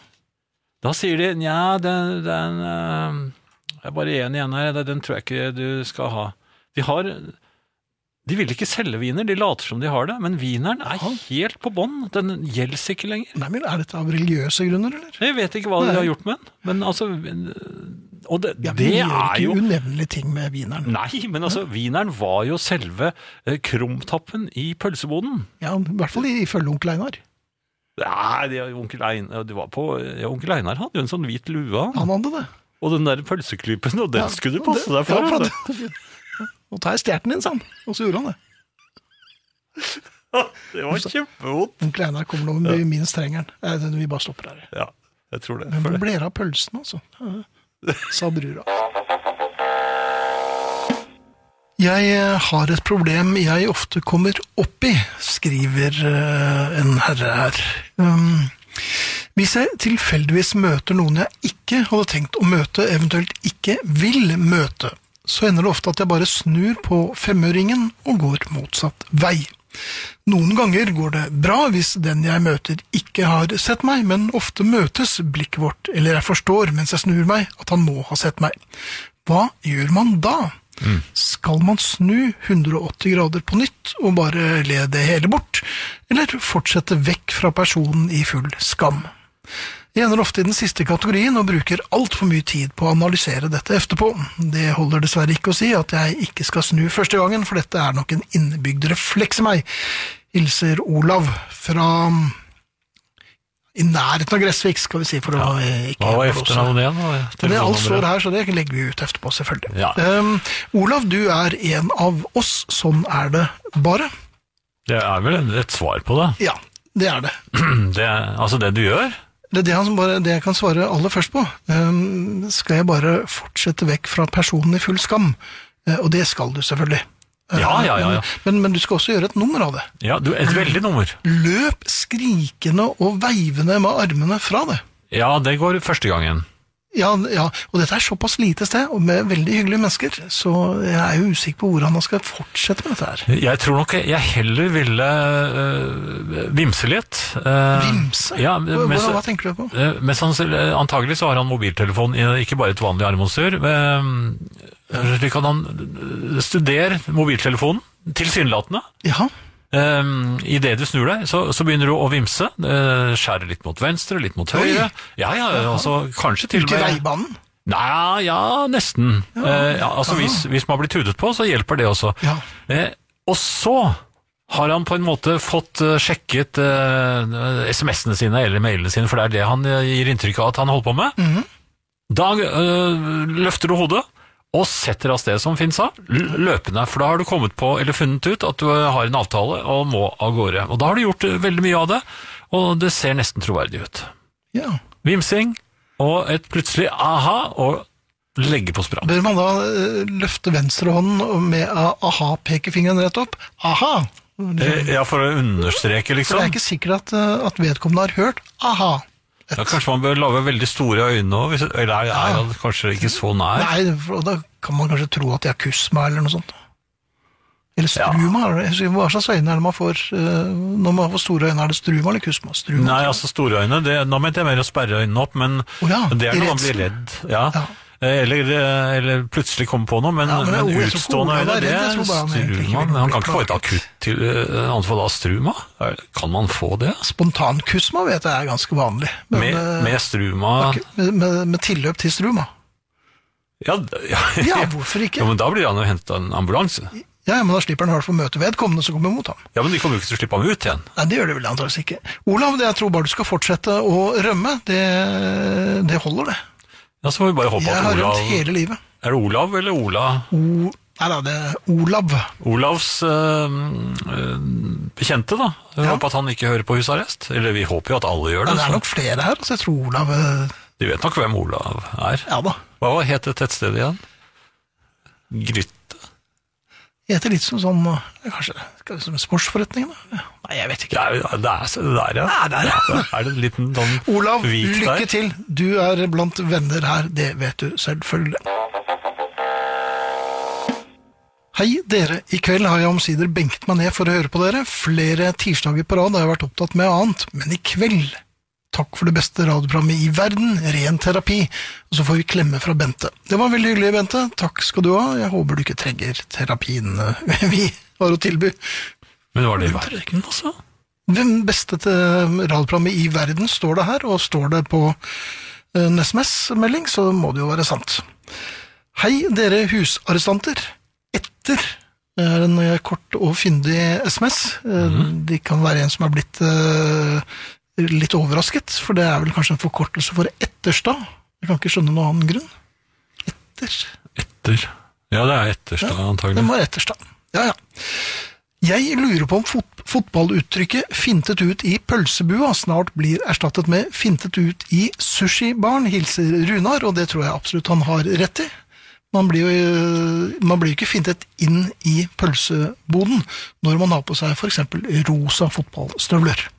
Speaker 2: Da sier de nja, den, den eh, Jeg er bare én igjen her, den- den tror jeg ikke du skal ha. De har De vil ikke selge wiener, de later som de har det, men wieneren er helt på bånn. Den gjelder ikke lenger.
Speaker 1: Nei, men Er dette av religiøse grunner, eller?
Speaker 2: Jeg vet ikke hva de
Speaker 1: Nei.
Speaker 2: har gjort med den, men altså eh, Og det,
Speaker 1: Ja, men
Speaker 2: det
Speaker 1: vi
Speaker 2: er
Speaker 1: gjør
Speaker 2: jo
Speaker 1: ikke unevnelige ting med wieneren.
Speaker 2: Nei, men altså, wieneren var jo selve eh, krumtappen i pølseboden.
Speaker 1: Ja, I hvert fall ifølge onkel Einar.
Speaker 2: Nei, det, onkel, Einar, det var på, ja, onkel Einar hadde jo en sånn hvit lue, han.
Speaker 1: Han hadde det.
Speaker 2: og den der pølseklypen, og den
Speaker 1: Ja,
Speaker 2: skulle du
Speaker 1: og
Speaker 2: passe
Speaker 1: det-
Speaker 2: deg for.
Speaker 1: Ja,
Speaker 2: altså.
Speaker 1: for det- Nå tar jeg stjerten din, sa han. Og så gjorde han det.
Speaker 2: det var kjempevondt.
Speaker 1: Onkel Einar kommer nå med minst trengeren. Nei, det- Vi bare stopper her.
Speaker 2: Ja, jeg tror det.
Speaker 1: Men
Speaker 2: For
Speaker 1: hvor
Speaker 2: det.
Speaker 1: ble det av pølsen, altså? Ja, Sa brura. Jeg eh, har et problem jeg ofte kommer opp i, skriver eh, en herre her. Um, Hvis jeg tilfeldigvis møter noen jeg ikke hadde tenkt å møte, eventuelt ikke vil møte, så ender det ofte at jeg bare snur på femøringen og går motsatt vei. Noen ganger går det bra hvis den jeg møter ikke har sett meg, men ofte møtes blikket vårt, eller jeg forstår mens jeg snur meg at han må ha sett meg. Hva gjør man da? Skal man snu 180 grader på nytt og bare le det hele bort, eller fortsette vekk fra personen i full skam? Jeg ender ofte i den siste kategorien og bruker altfor mye tid på å analysere dette etterpå. Det holder dessverre ikke å si at jeg ikke skal snu første gangen, for dette er nok en innebygd refleks i meg, hilser Olav fra i nærheten av Gressvik, skal vi si, for å eh, ikke blåse.
Speaker 2: igjen?
Speaker 1: Men Det alt står her, så det legger vi ut etterpå, selvfølgelig.
Speaker 2: Ja.
Speaker 1: Ehm, Olav, du er en av oss. Sånn er det bare.
Speaker 2: Det er vel et svar på det.
Speaker 1: Ja, det er det.
Speaker 2: altså det du gjør?
Speaker 1: Det er det, han som bare, det jeg kan svare aller først på. Ehm, skal jeg bare fortsette vekk fra personen i full skam? Eh, og det skal du selvfølgelig.
Speaker 2: Ja, ja, ja, ja.
Speaker 1: Men, men du skal også gjøre et nummer av det.
Speaker 2: Ja, du, et veldig nummer.
Speaker 1: Løp skrikende og veivende med armene fra det.
Speaker 2: Ja, det går første gangen.
Speaker 1: Ja, ja, og dette er såpass lite sted, og med veldig hyggelige mennesker, så jeg er jo usikker på hvordan man skal fortsette med dette her.
Speaker 2: Jeg tror nok jeg heller ville øh, vimse litt. Øh,
Speaker 1: Vimse?
Speaker 2: Ja,
Speaker 1: hva,
Speaker 2: mens-
Speaker 1: hva, hva tenker du på?
Speaker 2: øh, mens han, antagelig så har han mobiltelefon, i- ikke bare et vanlig armbåndsur. Øh, slik at han øh, studerer mobiltelefonen, tilsynelatende.
Speaker 1: Ja,
Speaker 2: Um, I det du snur deg, så, så begynner du å vimse. Uh, skjære litt mot venstre, litt mot høyre. Ja, ja, altså, kanskje til
Speaker 1: ut
Speaker 2: og
Speaker 1: i
Speaker 2: med
Speaker 1: veibanen.
Speaker 2: Nei, ja, nesten. Eh, ja, altså,
Speaker 1: Ja.
Speaker 2: hvis, hvis man blir tudet på, så hjelper det også.
Speaker 1: Ja.
Speaker 2: Eh, og så har han på en måte fått eh, sjekket eh, SMS-ene sine eller mailene sine, for det er det han eh, gir inntrykk av at han holder på med.
Speaker 1: Mhm.
Speaker 2: Da eh, løfter du hodet og setter av sted, som Finn sa, l- løpende. For da har du kommet på, eller funnet ut at du eh, har en avtale og må av gårde. Og da har du gjort eh, veldig mye av det, og det ser nesten troverdig ut
Speaker 1: Ja.
Speaker 2: vimsing og et plutselig aha og legge på sprang.
Speaker 1: Bør man da eh, løfte venstrehånden og med eh, aha-pekefingeren rett opp? Aha!
Speaker 2: Eh, Ja, for å understreke,
Speaker 1: For det er
Speaker 2: liksom.
Speaker 1: ikke sikkert at, eh, at vedkommende har hørt aha.
Speaker 2: Ja, kanskje man bør lage veldig store øyne òg, eller er, er han kanskje ikke så nær?
Speaker 1: Nei, for da kan man kanskje tro at de har kuss meg eller noe sånt. Eller struma, er det- jeg husker- hva slags øyne er det man får eh, når man får store øyne? Er det struma eller kussma? Struma.
Speaker 2: Nei, altså store øyne, det, nå mente jeg mer å sperre øynene opp, men
Speaker 1: Å ja,
Speaker 2: det er
Speaker 1: i
Speaker 2: når man
Speaker 1: redsel.
Speaker 2: blir redd. Ja.
Speaker 1: Ja.
Speaker 2: Eh, Eller, eh, eller plutselig komme på noe, men,
Speaker 1: Ja, men det er
Speaker 2: men,
Speaker 1: ordet som
Speaker 2: utstående
Speaker 1: Olav er
Speaker 2: øyne,
Speaker 1: redd,
Speaker 2: det
Speaker 1: jeg
Speaker 2: er
Speaker 1: tror bare han egentlig ikke
Speaker 2: struma.
Speaker 1: vil
Speaker 2: Men han
Speaker 1: bli
Speaker 2: kan ikke få et
Speaker 1: plaget.
Speaker 2: akutt til eh, annet for da struma? Er- Kan man få det?
Speaker 1: Spontan kussma vet jeg er ganske vanlig. men,
Speaker 2: Med,
Speaker 1: eh,
Speaker 2: med struma
Speaker 1: Med, med, med tilløp til struma.
Speaker 2: Ja, d- ja,
Speaker 1: Ja, hvorfor
Speaker 2: Jo,
Speaker 1: ikke?
Speaker 2: men da blir han jo henta en ambulanse.
Speaker 1: Ja, men da slipper han i hvert fall møte vedkommende som kommer mot ham.
Speaker 2: Ja, men de kommer jo ikke til å slippe ham ut igjen.
Speaker 1: Nei, det gjør det vel antakeligvis ikke. Olav, det jeg tror bare du skal fortsette å rømme. Det, det holder, det.
Speaker 2: Ja, så må vi bare håpe
Speaker 1: Jeg
Speaker 2: at
Speaker 1: har
Speaker 2: Olav
Speaker 1: rømt hele livet.
Speaker 2: Er det Olav eller Ola?
Speaker 1: O... Nei da, det er Olav.
Speaker 2: Olavs øh, øh, bekjente, da. Jeg
Speaker 1: Ja.
Speaker 2: Håper at han ikke hører på husarrest. Eller vi håper jo at alle gjør
Speaker 1: Men
Speaker 2: det.
Speaker 1: det er
Speaker 2: så
Speaker 1: nok flere her, så jeg tror Olav eh,
Speaker 2: De vet nok hvem Olav er.
Speaker 1: Ja da.
Speaker 2: Hva var- het det tettstedet igjen? Grytte?
Speaker 1: Heter litt som sånn eh, Kanskje skal vi- som sportsforretningen, da? Nei, jeg vet ikke.
Speaker 2: Det er, det er så- det der, ja. Ja, Er det en liten sånn
Speaker 1: Olav,
Speaker 2: vik der?
Speaker 1: lykke til. Du er blant venner her, det vet du selvfølgelig. Hei dere, i kveld har jeg omsider benket meg ned for å høre på dere. Flere tirsdager på rad har jeg vært opptatt med annet, men i kveld Takk for det beste radioprogrammet i verden, ren terapi. Og så får vi klemme fra Bente. Det var veldig hyggelig, Bente. Takk skal du ha. Jeg håper du ikke trenger terapien eh, vi har å tilby.
Speaker 2: Men var det i verden, altså?
Speaker 1: Hvem beste til radioprogrammet i verden står det her, og står det på eh, en SMS-melding, så må det jo være sant. Hei, dere husarrestanter. Etter er en eh, kort og fyndig SMS. Eh, Det kan være en som er blitt eh, litt overrasket, for det er vel kanskje en forkortelse for etterstad. Jeg kan ikke skjønne noen annen grunn. Etter.
Speaker 2: Etter. Ja, det er Etterstad, antagelig.
Speaker 1: Den var etterstad. Ja, ja. Jeg lurer på om fot fotballuttrykket 'fintet ut i pølsebua' snart blir erstattet med 'fintet ut i sushibaren', hilser Runar, og det tror jeg absolutt han har rett i. Man blir jo øh, man blir jo ikke fintet inn i pølseboden når man har på seg f.eks. rosa fotballstøvler.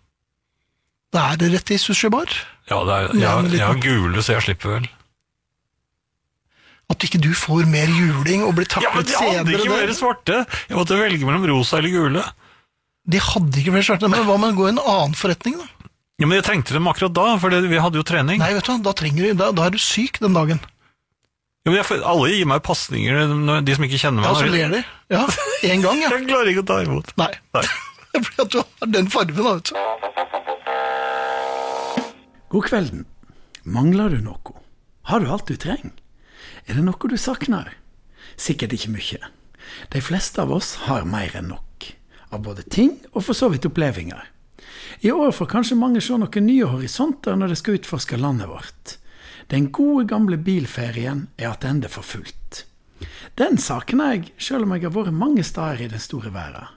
Speaker 1: Da er det rett i sushibar.
Speaker 2: Ja, det er,
Speaker 1: Ja, men
Speaker 2: jeg,
Speaker 1: litt-
Speaker 2: jeg har gule, så jeg slipper vel.
Speaker 1: At ikke du får mer juling og blir
Speaker 2: Ja, men
Speaker 1: taklet
Speaker 2: de hadde ikke
Speaker 1: senere.
Speaker 2: mer
Speaker 1: der.
Speaker 2: svarte! Jeg måtte velge mellom rosa eller gule.
Speaker 1: De hadde ikke flere svarte, men hva med å gå i en annen forretning, da?
Speaker 2: Ja, men jeg trengte dem akkurat da, for det, vi hadde jo trening.
Speaker 1: Nei, vet du hva, da, trenger du, da, da er du syk den dagen.
Speaker 2: Ja, men jeg, får- alle gir meg pasninger, eh, når- de som ikke kjenner meg.
Speaker 1: Ja, så
Speaker 2: når de-
Speaker 1: ler de. Ja, én gang, ja.
Speaker 2: jeg klarer ikke å ta imot.
Speaker 1: Nei.
Speaker 2: Nei.
Speaker 1: Fordi at du har den fargen, da, vet du.
Speaker 4: God kvelden. Mangler du noe? Har du alt du trenger? Er det noe du savner? Sikkert ikke mye. De fleste av oss har mer enn nok. Av både ting og for så vidt opplevelser. I år får kanskje mange se noen nye horisonter når de skal utforske landet vårt. Den gode, gamle bilferien er tilbake for fullt. Den savner jeg, sjøl om jeg har vært mange steder i den store verden.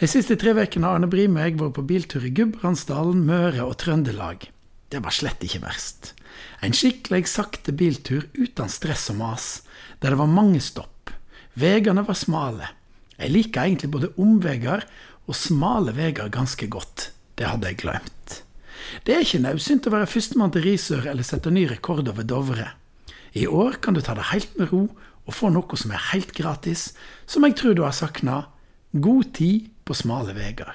Speaker 4: De siste tre ukene har Arne Brim og jeg vært på biltur i Gudbrandsdalen, Møre og Trøndelag. Det var slett ikke verst. En skikkelig sakte biltur uten stress og mas, der det var mange stopp. Veiene var smale. Jeg liker egentlig både omveier og smale veier ganske godt. Det hadde jeg glemt. Det er ikke naudsynt å være førstemann til Risør eller sette ny rekord over Dovre. I år kan du ta det helt med ro og få noe som er helt gratis, som jeg tror du har savna. God tid på smale veier.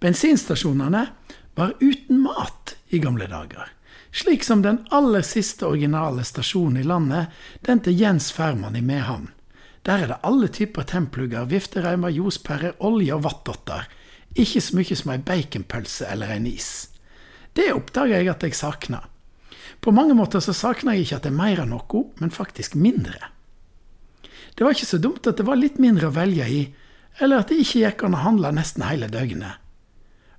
Speaker 4: Bensinstasjonene var uten mat i gamle dager. Slik som den aller siste originale stasjonen i landet, den til Jens Færmann i Mehamn. Der er det alle typer templugger, viftereimer, ljospærer, olje og vattdotter. Ikke så mye som ei baconpølse eller en is. Det oppdager jeg at jeg savner. På mange måter så savner jeg ikke at det er mer av noe, men faktisk mindre. Det var ikke så dumt at det var litt mindre å velge i, eller at det ikke gikk an å handle nesten hele døgnet.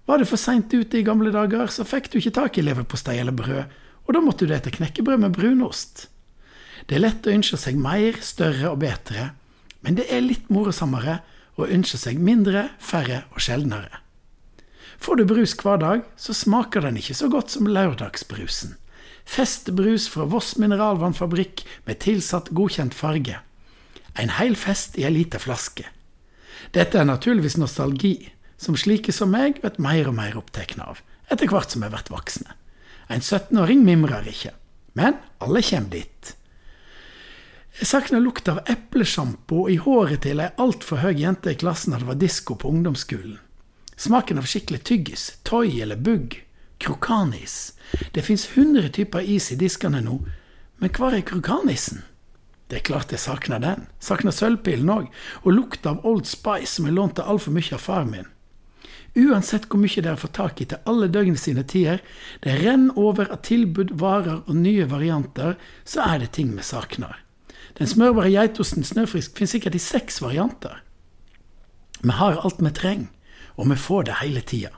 Speaker 4: Var du for seint ute i gamle dager, så fikk du ikke tak i leverpostei eller brød, og da måtte du ete knekkebrød med brunost. Det er lett å ønske seg mer, større og bedre, men det er litt morosammere å ønske seg mindre, færre og sjeldnere. Får du brus hver dag, så smaker den ikke så godt som lørdagsbrusen. Festbrus fra Voss mineralvannfabrikk med tilsatt godkjent farge. En hel fest i ei lita flaske. Dette er naturligvis nostalgi, som slike som meg blir mer og mer opptatt av, etter hvert som vi blir voksne. En 17-åring mimrer ikke, men alle kommer dit. Jeg savner lukta av eplesjampo i håret til ei altfor høy jente i klassen da det var disko på ungdomsskolen. Smaken av skikkelig tyggis, toy eller bugg. Krokanis. Det fins 100 typer is i diskene nå, men hvor er krokanisen? Det er klart jeg savner den. Savner sølvpillen òg. Og lukta av Old Spice som jeg lånte altfor mye av far min. Uansett hvor mye dere får tak i til alle døgnet sine tider, det renner over av tilbud, varer og nye varianter, så er det ting vi savner. Den smørbare geitosten Snøfrisk finnes sikkert i seks varianter. Vi har alt vi trenger, og vi får det hele tida.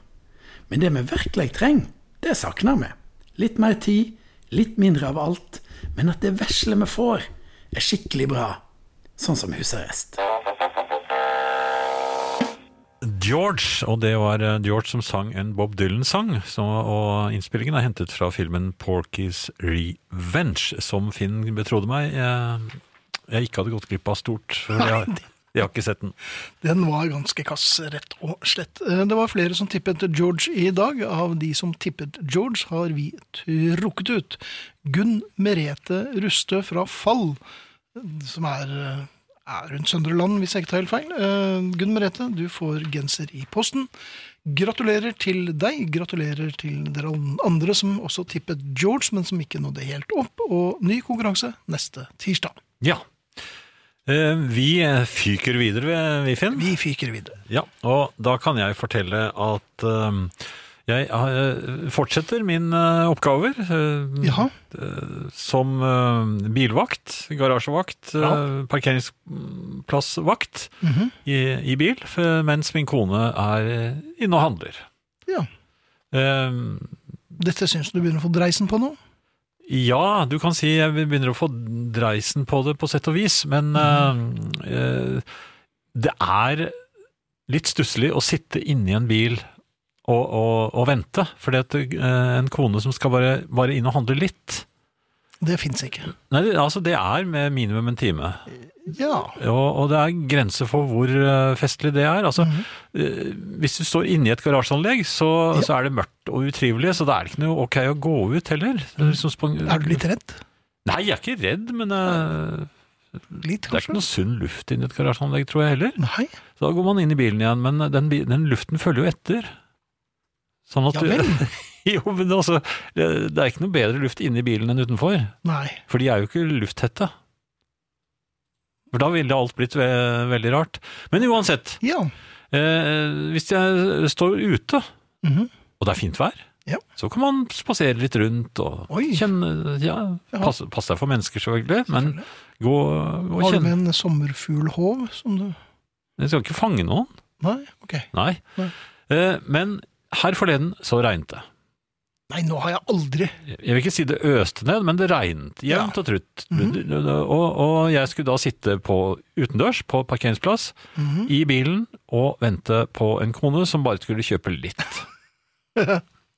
Speaker 4: Men det vi virkelig trenger, det savner vi. Litt mer tid, litt mindre av alt, men at det vesle vi får, er skikkelig bra. Sånn som husarrest.
Speaker 2: George, og det var eh, George som sang en Bob Dylan-sang. så- Og innspillingen er hentet fra filmen Porky's Revenge, som Finn betrodde meg jeg, jeg ikke hadde gått glipp av stort. For jeg, har- jeg har ikke sett den.
Speaker 1: Den var ganske kass, rett og slett. Eh, Det var flere som tippet George i dag. Av de som tippet George, har vi trukket ut Gunn Merete Rustø fra Fall, som er, eh, er rundt Søndre Land, hvis jeg ikke tar helt feil. Eh, Gunn Merete, du får genser i posten. Gratulerer til deg. Gratulerer til dere andre som også tippet George, men som ikke nådde helt opp. Og ny konkurranse neste tirsdag.
Speaker 2: Ja. Eh, Vi eh, fyker videre, vi- vi, Finn.
Speaker 1: Vi fyker videre.
Speaker 2: Ja, og da kan jeg fortelle at eh, jeg eh, fortsetter mine eh, oppgaver. eh,
Speaker 1: Jaha.
Speaker 2: som eh, bilvakt, garasjevakt, eh, parkeringsplassvakt
Speaker 1: Mhm.
Speaker 2: i, i bil, f- mens min kone er eh, inne og handler.
Speaker 1: Ja.
Speaker 2: Eh,
Speaker 1: Dette syns du begynner å få dreisen på nå?
Speaker 2: ja, du kan si jeg begynner å få dreisen på det på sett og vis, men
Speaker 1: Mhm.
Speaker 2: eh, eh, det er litt stusslig å sitte inne i en bil og, og, og vente, fordi at eh, en kone som skal bare, bare inn og handle litt,
Speaker 1: Det fins ikke.
Speaker 2: Nei, det- altså det er med minimum en time.
Speaker 1: Ja.
Speaker 2: Og, og det er grenser for hvor eh, festlig det er. Altså, eh, hvis du står inni et garasjeanlegg, så, så er det mørkt og utrivelig, så det er ikke noe ok å gå ut heller. Det Er liksom spon-
Speaker 1: Er du litt redd?
Speaker 2: Nei, jeg er ikke redd, men eh,
Speaker 1: Litt,
Speaker 2: det er
Speaker 1: kanskje?
Speaker 2: ikke noe sunn luft inni et garasjeanlegg, tror jeg heller.
Speaker 1: Nei.
Speaker 2: Så da går man inn i bilen igjen, men den, bi- den luften følger jo etter. Sånn at
Speaker 1: Ja
Speaker 2: du,
Speaker 1: vel.
Speaker 2: jo, men altså, det det er ikke noe bedre luft inni bilen enn utenfor,
Speaker 1: Nei.
Speaker 2: for de er jo ikke lufttette. For da ville alt blitt ve veldig rart. Men uansett,
Speaker 1: Ja.
Speaker 2: Eh, hvis jeg står ute,
Speaker 1: Mhm.
Speaker 2: og det er fint vær,
Speaker 1: Ja.
Speaker 2: så kan man spasere litt rundt og
Speaker 1: Oi.
Speaker 2: kjenne ja,
Speaker 1: Ja.
Speaker 2: pass, pass deg for mennesker, selvfølgelig, men gå og
Speaker 1: Har du
Speaker 2: kjenne
Speaker 1: med en sommerfuglhåv som du
Speaker 2: Jeg skal ikke fange noen,
Speaker 1: Nei? Ok.
Speaker 2: nei.
Speaker 1: Nei.
Speaker 2: Eh, men her forleden så regnet det.
Speaker 1: Nei, nå har jeg aldri
Speaker 2: Jeg vil ikke si det øste ned, men det regnet jevnt og trutt.
Speaker 1: Mhm.
Speaker 2: og, og jeg skulle da sitte på utendørs, på parkeringsplass,
Speaker 1: Mhm.
Speaker 2: i bilen og vente på en kone som bare skulle kjøpe litt.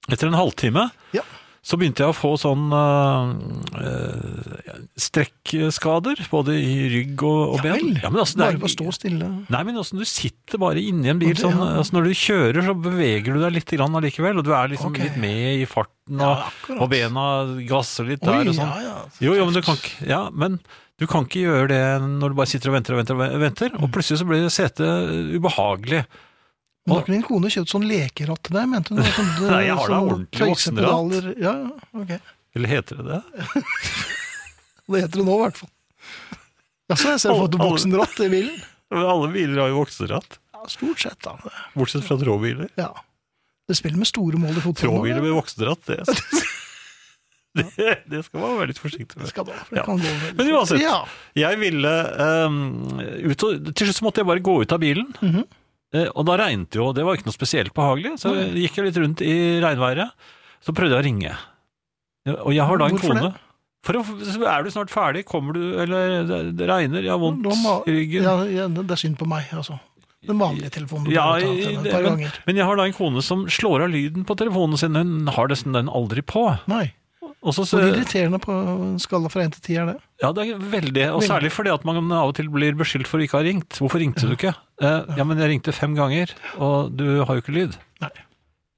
Speaker 2: Etter en halvtime
Speaker 1: Ja.
Speaker 2: Så begynte jeg å få sånn eh, eh, strekkskader, både i rygg og, og
Speaker 1: Ja
Speaker 2: ben.
Speaker 1: vel.
Speaker 2: Ja, men altså, det er-
Speaker 1: Bare ved å stå stille.
Speaker 2: Nei, men altså, du sitter bare inni en bil.
Speaker 1: Og det-
Speaker 2: Sånn,
Speaker 1: ja.
Speaker 2: altså, når du kjører, så beveger du deg litt grann allikevel, og du er liksom
Speaker 1: Ok.
Speaker 2: litt med i farten, og,
Speaker 1: Ja, akkurat.
Speaker 2: og bena gasser litt
Speaker 1: Oi,
Speaker 2: der og
Speaker 1: ja,
Speaker 2: sånn.
Speaker 1: ja.
Speaker 2: Jo, jo, men du kan ikke Ja, men du kan ikke gjøre det når du bare sitter og venter og venter og venter,
Speaker 1: Mm.
Speaker 2: og plutselig så blir setet ubehagelig.
Speaker 1: Men da kunne din kone kjøpt sånn lekeratt til deg, mente hun? Sånn,
Speaker 2: Nei, jeg har da
Speaker 1: sånn
Speaker 2: ordentlig voksenratt.
Speaker 1: tøysepedaler. Ja, ja, ok.
Speaker 2: Eller heter det det?
Speaker 1: Det heter det nå, i hvert fall. Ja, så jeg ser
Speaker 2: Alle-
Speaker 1: for meg
Speaker 2: alle-
Speaker 1: voksenratt i bilen.
Speaker 2: Men alle biler har jo vokseratt,
Speaker 1: Ja, stort sett, da.
Speaker 2: bortsett fra tråbiler.
Speaker 1: Ja. Det spiller med store mål i fotball.
Speaker 2: Tråbiler
Speaker 1: nå,
Speaker 2: med voksenratt, det, det, det skal man være litt forsiktig
Speaker 1: ja.
Speaker 2: med.
Speaker 1: Skal da, for det
Speaker 2: Ja.
Speaker 1: kan gå veldig
Speaker 2: Men uansett.
Speaker 1: fort. Ja.
Speaker 2: Jeg ville eh, ut og, Til slutt så måtte jeg bare gå ut av bilen.
Speaker 1: Mhm.
Speaker 2: Eh, og da regnet jo, og det var ikke noe spesielt behagelig. Så jeg gikk jeg litt rundt i regnværet. Så prøvde jeg å ringe. Ja, Og jeg har da en
Speaker 1: Hvorfor
Speaker 2: kone. For å, så er du snart ferdig? Kommer du Eller det, det regner, jeg har vondt
Speaker 1: Da må-
Speaker 2: i ryggen.
Speaker 1: Ja, ja, det det er synd på meg, altså. Den vanlige telefonen. du
Speaker 2: Ja,
Speaker 1: har tatt henne
Speaker 2: det-
Speaker 1: et par
Speaker 2: men-
Speaker 1: ganger.
Speaker 2: Men jeg har da en kone som slår av lyden på telefonen sin. Hun har nesten den aldri på.
Speaker 1: Nei.
Speaker 2: Og så,
Speaker 1: Hvor irriterende på en skala fra 1 til 10 er det?
Speaker 2: Ja, det er veldig, og
Speaker 1: Veldig.
Speaker 2: særlig fordi at man av og til blir beskyldt for å ikke ha ringt. Hvorfor ringte du ikke? Eh, ja, men jeg ringte fem ganger, og du har jo ikke lyd.
Speaker 1: Nei.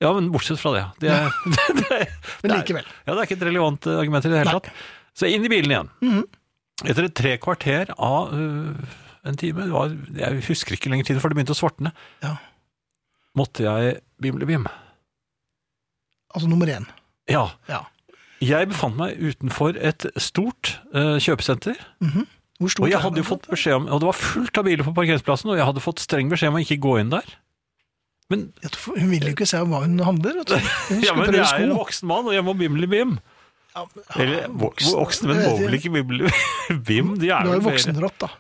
Speaker 2: Ja, men bortsett fra det. Det er, det, er,
Speaker 1: Men
Speaker 2: Nei.
Speaker 1: likevel.
Speaker 2: ja, det er ikke et relevant eh, argument i det hele
Speaker 1: Nei.
Speaker 2: tatt. Så inn i bilen igjen.
Speaker 1: Mhm.
Speaker 2: Etter et tre kvarter av øh, en time, det var, jeg husker ikke lenger tid, for det begynte å svartne,
Speaker 1: Ja.
Speaker 2: måtte jeg bimle-bim.
Speaker 1: Altså nummer én.
Speaker 2: Ja.
Speaker 1: Ja.
Speaker 2: Jeg befant meg utenfor et stort eh, kjøpesenter,
Speaker 1: Hvor stor
Speaker 2: Og jeg
Speaker 1: er
Speaker 2: hadde
Speaker 1: den?
Speaker 2: jo fått beskjed om, og det var fullt av biler på parkeringsplassen, og jeg hadde fått streng beskjed om å ikke gå inn der. Men,
Speaker 1: Ja, for Hun vil jo ikke se hva hun handler. vet du. Hun
Speaker 2: ja,
Speaker 1: skal
Speaker 2: men
Speaker 1: prøve
Speaker 2: jeg er en
Speaker 1: sko.
Speaker 2: voksen mann, og jeg må bimli-bim.
Speaker 1: Ja,
Speaker 2: Eller vok-
Speaker 1: voksen-
Speaker 2: voksne, men må vel ikke bimli-bim? De
Speaker 1: Du
Speaker 2: er
Speaker 1: har
Speaker 2: vel
Speaker 1: jo
Speaker 2: mer
Speaker 1: voksenrått, da.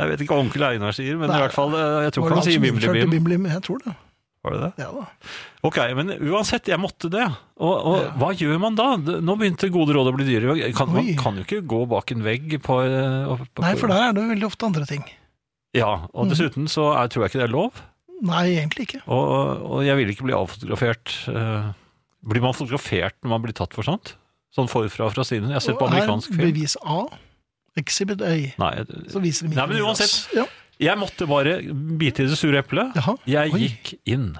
Speaker 2: Jeg vet ikke hva onkel Einar sier, men
Speaker 1: Nei.
Speaker 2: i hvert fall, eh, jeg tror
Speaker 1: Var det
Speaker 2: ikke han sier
Speaker 1: som innførte
Speaker 2: bimli-bim.
Speaker 1: Bimlim? Jeg tror det.
Speaker 2: Var det det?
Speaker 1: Ja da.
Speaker 2: Ok, men uansett, jeg måtte det. Og, og hva gjør man da? Det- Nå begynte gode råd å bli dyre. Kan, man
Speaker 1: Oi.
Speaker 2: kan jo ikke gå bak en vegg på, eh, opp- på
Speaker 1: Nei, for der er det veldig ofte andre ting.
Speaker 2: Ja, og dessuten så er, tror jeg ikke det er lov.
Speaker 1: Nei, egentlig ikke.
Speaker 2: Og, og jeg vil ikke bli avfotografert. Eh, Blir man fotografert når man blir tatt for sånt? Sånn forfra og fra siden? Jeg har sett på
Speaker 1: Og her,
Speaker 2: amerikansk film.
Speaker 1: Bevis A. Exhibit A.
Speaker 2: Nei, jeg-
Speaker 1: Så viser de
Speaker 2: Nei, men
Speaker 1: ikke
Speaker 2: uansett.
Speaker 1: Ja.
Speaker 2: jeg måtte bare bite i det sure eplet.
Speaker 1: Jaha.
Speaker 2: Jeg
Speaker 1: Oi.
Speaker 2: gikk inn.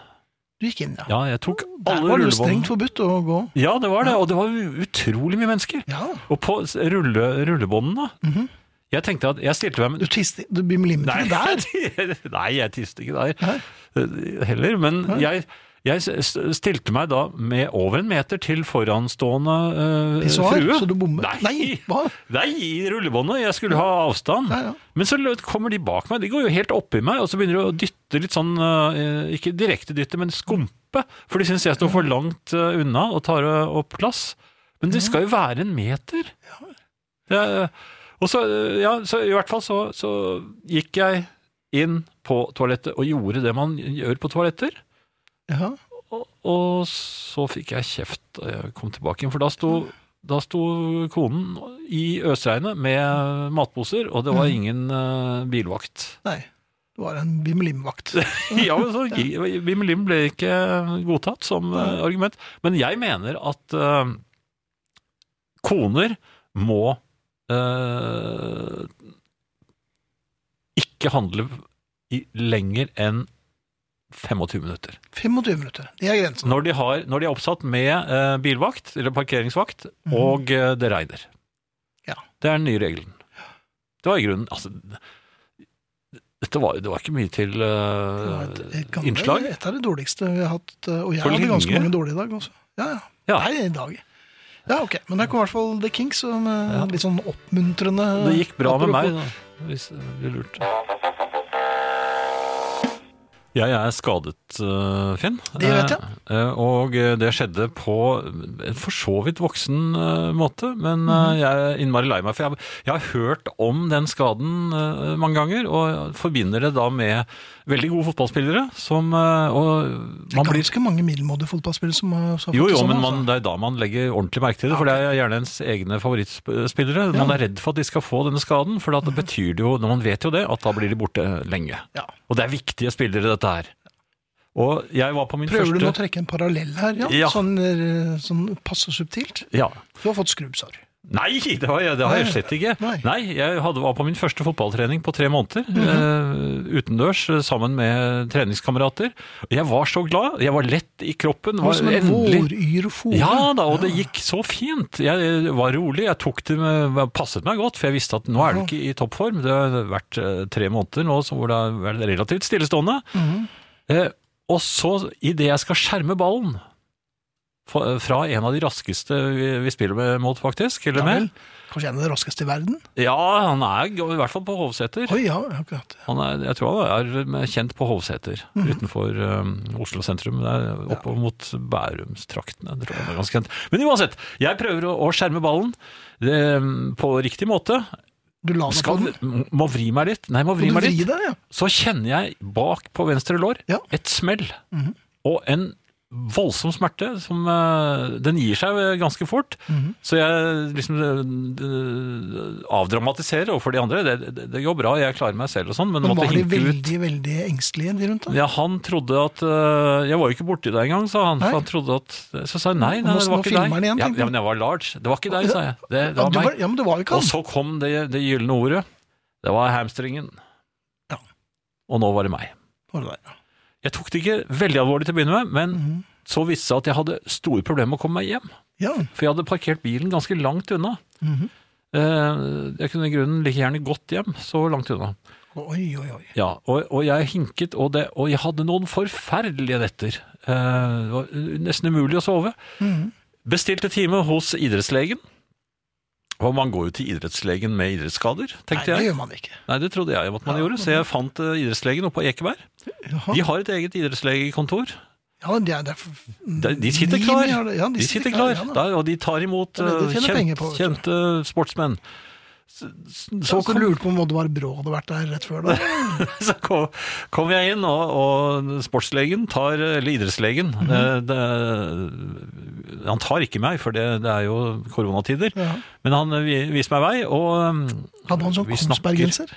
Speaker 1: Du gikk inn, ja.
Speaker 2: Ja, jeg tok
Speaker 1: Der
Speaker 2: alle
Speaker 1: var det jo strengt
Speaker 2: rullebåndene.
Speaker 1: forbudt å gå.
Speaker 2: Ja, det var det, og det var utrolig mye mennesker.
Speaker 1: Ja,
Speaker 2: Og på s- rulle, rullebåndene
Speaker 1: Mhm.
Speaker 2: Jeg tenkte at jeg stilte meg
Speaker 1: Du, tiste, du bimlimte
Speaker 2: Nei,
Speaker 1: der.
Speaker 2: nei, jeg tiste ikke der eh, heller. Men
Speaker 1: Nei.
Speaker 2: jeg, jeg s- stilte meg da med over en meter til foranstående eh,
Speaker 1: Pissoar,
Speaker 2: frue.
Speaker 1: så du bommer.
Speaker 2: Nei.
Speaker 1: hva?
Speaker 2: Nei, i rullebåndet. Jeg skulle ha avstand.
Speaker 1: Ja, ja.
Speaker 2: Men så lø- kommer de bak meg. De går jo helt oppi meg, og så begynner de å dytte litt sånn eh, Ikke direkte dytte, men skumpe. For de syns jeg står for langt eh, unna og tar eh, opp plass. Men det skal jo være en meter. Det er, og så, eh, ja, så i hvert fall så, så gikk jeg inn på toalettet og gjorde det man gjør på toaletter.
Speaker 1: Ja.
Speaker 2: Og, og så fikk jeg kjeft da jeg kom tilbake igjen, for da sto, da sto konen i øsregnet med matposer, og det var ingen eh, bilvakt.
Speaker 1: Nei. Du var en bimlimvakt.
Speaker 2: ja, men så Wim Lim ble ikke godtatt som eh, argument. Men jeg mener at eh, koner må eh, ikke handle i lenger enn 25 minutter.
Speaker 1: 25 minutter. Det er grensen.
Speaker 2: Når de, har, når de er oppsatt med eh, bilvakt, eller parkeringsvakt, og eh, det regner.
Speaker 1: Mhm. Ja.
Speaker 2: Det er den nye regelen. Det var i grunnen altså, dette var, Det var ikke mye til
Speaker 1: Det
Speaker 2: eh,
Speaker 1: var et- et gammel-
Speaker 2: innslag.
Speaker 1: Et av de dårligste vi har hatt. eh, Og jeg
Speaker 2: For
Speaker 1: hadde ganske
Speaker 2: lenge.
Speaker 1: mange dårlige i dag også. Ja, ja.
Speaker 2: Ja.
Speaker 1: Nei, i dag. Ja, ok. Men der kom i hvert fall The Kinks, som eh,
Speaker 2: Ja.
Speaker 1: litt sånn oppmuntrende
Speaker 2: Det gikk bra med
Speaker 1: apropos.
Speaker 2: meg, da, hvis det blir lurt. Jeg er skadet, eh, Finn.
Speaker 1: Det vet jeg.
Speaker 2: Eh, eh, Og eh, det skjedde på en for så vidt voksen eh, måte, men eh, jeg er innmari lei meg. For jeg, jeg har hørt om den skaden eh, mange ganger, og forbinder det da med veldig gode fotballspillere som eh, Og
Speaker 1: Det er
Speaker 2: man blir
Speaker 1: ganske mange middelmådige fotballspillere som har som har fått det
Speaker 2: jo, jo,
Speaker 1: sånn,
Speaker 2: men
Speaker 1: altså.
Speaker 2: man, det er da man legger ordentlig merke til det, for det er gjerne ens egne favorittspillere. Man er redd for at de skal få denne skaden, for da- det betyr det jo, når man vet jo det, at da blir de borte lenge.
Speaker 1: Ja.
Speaker 2: Og det er viktige spillere, dette her. Og jeg var på min
Speaker 1: Prøver du nå å
Speaker 2: første
Speaker 1: trekke en parallell her, ja?
Speaker 2: Ja.
Speaker 1: Sånn, eh, sånn passe subtilt?
Speaker 2: ja.
Speaker 1: Du har fått skrubbsår.
Speaker 2: Nei, det har jeg, det har jeg
Speaker 1: Nei.
Speaker 2: slett ikke.
Speaker 1: Nei. Mhm.
Speaker 2: Nei, jeg hadde, var på min første fotballtrening på tre måneder eh, utendørs eh, sammen med treningskamerater. Jeg var så glad. Jeg var lett i kroppen.
Speaker 1: Det var
Speaker 2: Var
Speaker 1: som en
Speaker 2: endelig
Speaker 1: våryr og fore.
Speaker 2: Ja da, og det gikk så fint. Jeg var rolig, jeg tok det med, passet meg godt, for jeg visste at nå er du ikke i toppform. Det har vært eh, tre måneder nå så hvor det har vært relativt stillestående.
Speaker 1: Mhm.
Speaker 2: Eh, og så, idet jeg skal skjerme ballen fra fra en av de raskeste vi, vi spiller med mot, faktisk, eller
Speaker 1: Ja vel.
Speaker 2: med
Speaker 1: Kanskje en av de raskeste i verden?
Speaker 2: Ja, han er g- i hvert fall på Hovseter.
Speaker 1: Oi, ja, akkurat.
Speaker 2: Han er, jeg tror han er kjent på Hovseter,
Speaker 1: Mhm.
Speaker 2: utenfor eh, Oslo sentrum. Det er oppe mot Bærumstraktene. jeg tror han er ganske kjent. Men uansett, jeg prøver å, å skjerme ballen eh, på riktig måte.
Speaker 1: Du la deg på
Speaker 2: Skal,
Speaker 1: den.
Speaker 2: m- må vri meg litt. Nei,
Speaker 1: Og
Speaker 2: må vri
Speaker 1: du
Speaker 2: meg
Speaker 1: vri
Speaker 2: litt.
Speaker 1: deg, ja.
Speaker 2: Så kjenner jeg bak på venstre lår
Speaker 1: Ja. Mhm.
Speaker 2: et smell. Og en voldsom smerte. Som, eh, den gir seg eh, ganske fort.
Speaker 1: Mhm.
Speaker 2: Så jeg liksom eh, avdramatiserer overfor de andre. Det, det, det går bra, jeg klarer meg selv og sånn, men,
Speaker 1: Men
Speaker 2: måtte
Speaker 1: var de
Speaker 2: hinke ut.
Speaker 1: veldig, veldig engstelige, de rundt deg?
Speaker 2: Ja, han trodde at øh, Jeg var jo ikke borti deg engang, sa han.
Speaker 1: Nei.
Speaker 2: Så han trodde at Så sa jeg nei,
Speaker 1: Og
Speaker 2: nei
Speaker 1: nå-
Speaker 2: det var
Speaker 1: nå
Speaker 2: ikke
Speaker 1: filmer
Speaker 2: deg.
Speaker 1: han igjen,
Speaker 2: ja,
Speaker 1: tenker
Speaker 2: ja,
Speaker 1: du.
Speaker 2: men jeg var large. Det var ikke deg, sa jeg. Det, det
Speaker 1: Ja,
Speaker 2: var
Speaker 1: du
Speaker 2: meg.
Speaker 1: var, ja, men det var jo ikke
Speaker 2: Og
Speaker 1: han.
Speaker 2: så kom det, det gylne ordet. Det var hamstringen.
Speaker 1: Ja.
Speaker 2: Og nå var det meg.
Speaker 1: Var det der, ja.
Speaker 2: Jeg tok det ikke veldig alvorlig til å begynne med, men
Speaker 1: Mhm.
Speaker 2: så viste det seg at jeg hadde store problemer med å komme meg hjem.
Speaker 1: Ja.
Speaker 2: For jeg hadde parkert bilen ganske langt unna.
Speaker 1: Mhm.
Speaker 2: Eh, Jeg kunne i grunnen like gjerne gått hjem så langt unna.
Speaker 1: Oi, oi, oi.
Speaker 2: Ja, og, og jeg hinket, og, det, og jeg hadde noen forferdelige netter. Eh, det var nesten umulig å sove.
Speaker 1: Mhm.
Speaker 2: Bestilte time hos idrettslegen. Og man går jo til idrettslegen med idrettsskader,
Speaker 1: Nei,
Speaker 2: tenkte
Speaker 1: det
Speaker 2: jeg.
Speaker 1: gjør man ikke.
Speaker 2: Nei, det trodde jeg at man
Speaker 1: Ja.
Speaker 2: gjorde, så jeg fant eh, idrettslegen oppe på Ekeberg.
Speaker 1: Jaha.
Speaker 2: De har et eget idrettslegekontor.
Speaker 1: Ja, de, er derfor,
Speaker 2: De, de sitter
Speaker 1: Ni
Speaker 2: klar.
Speaker 1: milliarder- ja,
Speaker 2: De sitter klar, Der, og de tar imot
Speaker 1: Det er det de
Speaker 2: eh,
Speaker 1: tjener penger
Speaker 2: kjent,
Speaker 1: på, vet
Speaker 2: kjente sportsmenn. Så,
Speaker 1: Så,
Speaker 2: så,
Speaker 1: så
Speaker 2: kom,
Speaker 1: lurte på om Oddvar Brå hadde vært der rett før da.
Speaker 2: så kom, kom jeg inn, og, og sportslegen tar Eller idrettslegen.
Speaker 1: Mhm.
Speaker 2: eh, det, han tar ikke meg, for det, det er jo koronatider.
Speaker 1: Ja.
Speaker 2: Men han eh, vi- viser meg vei, og um,
Speaker 1: Hadde han sånn
Speaker 2: Vi snakker.
Speaker 1: Kongsberg-genser?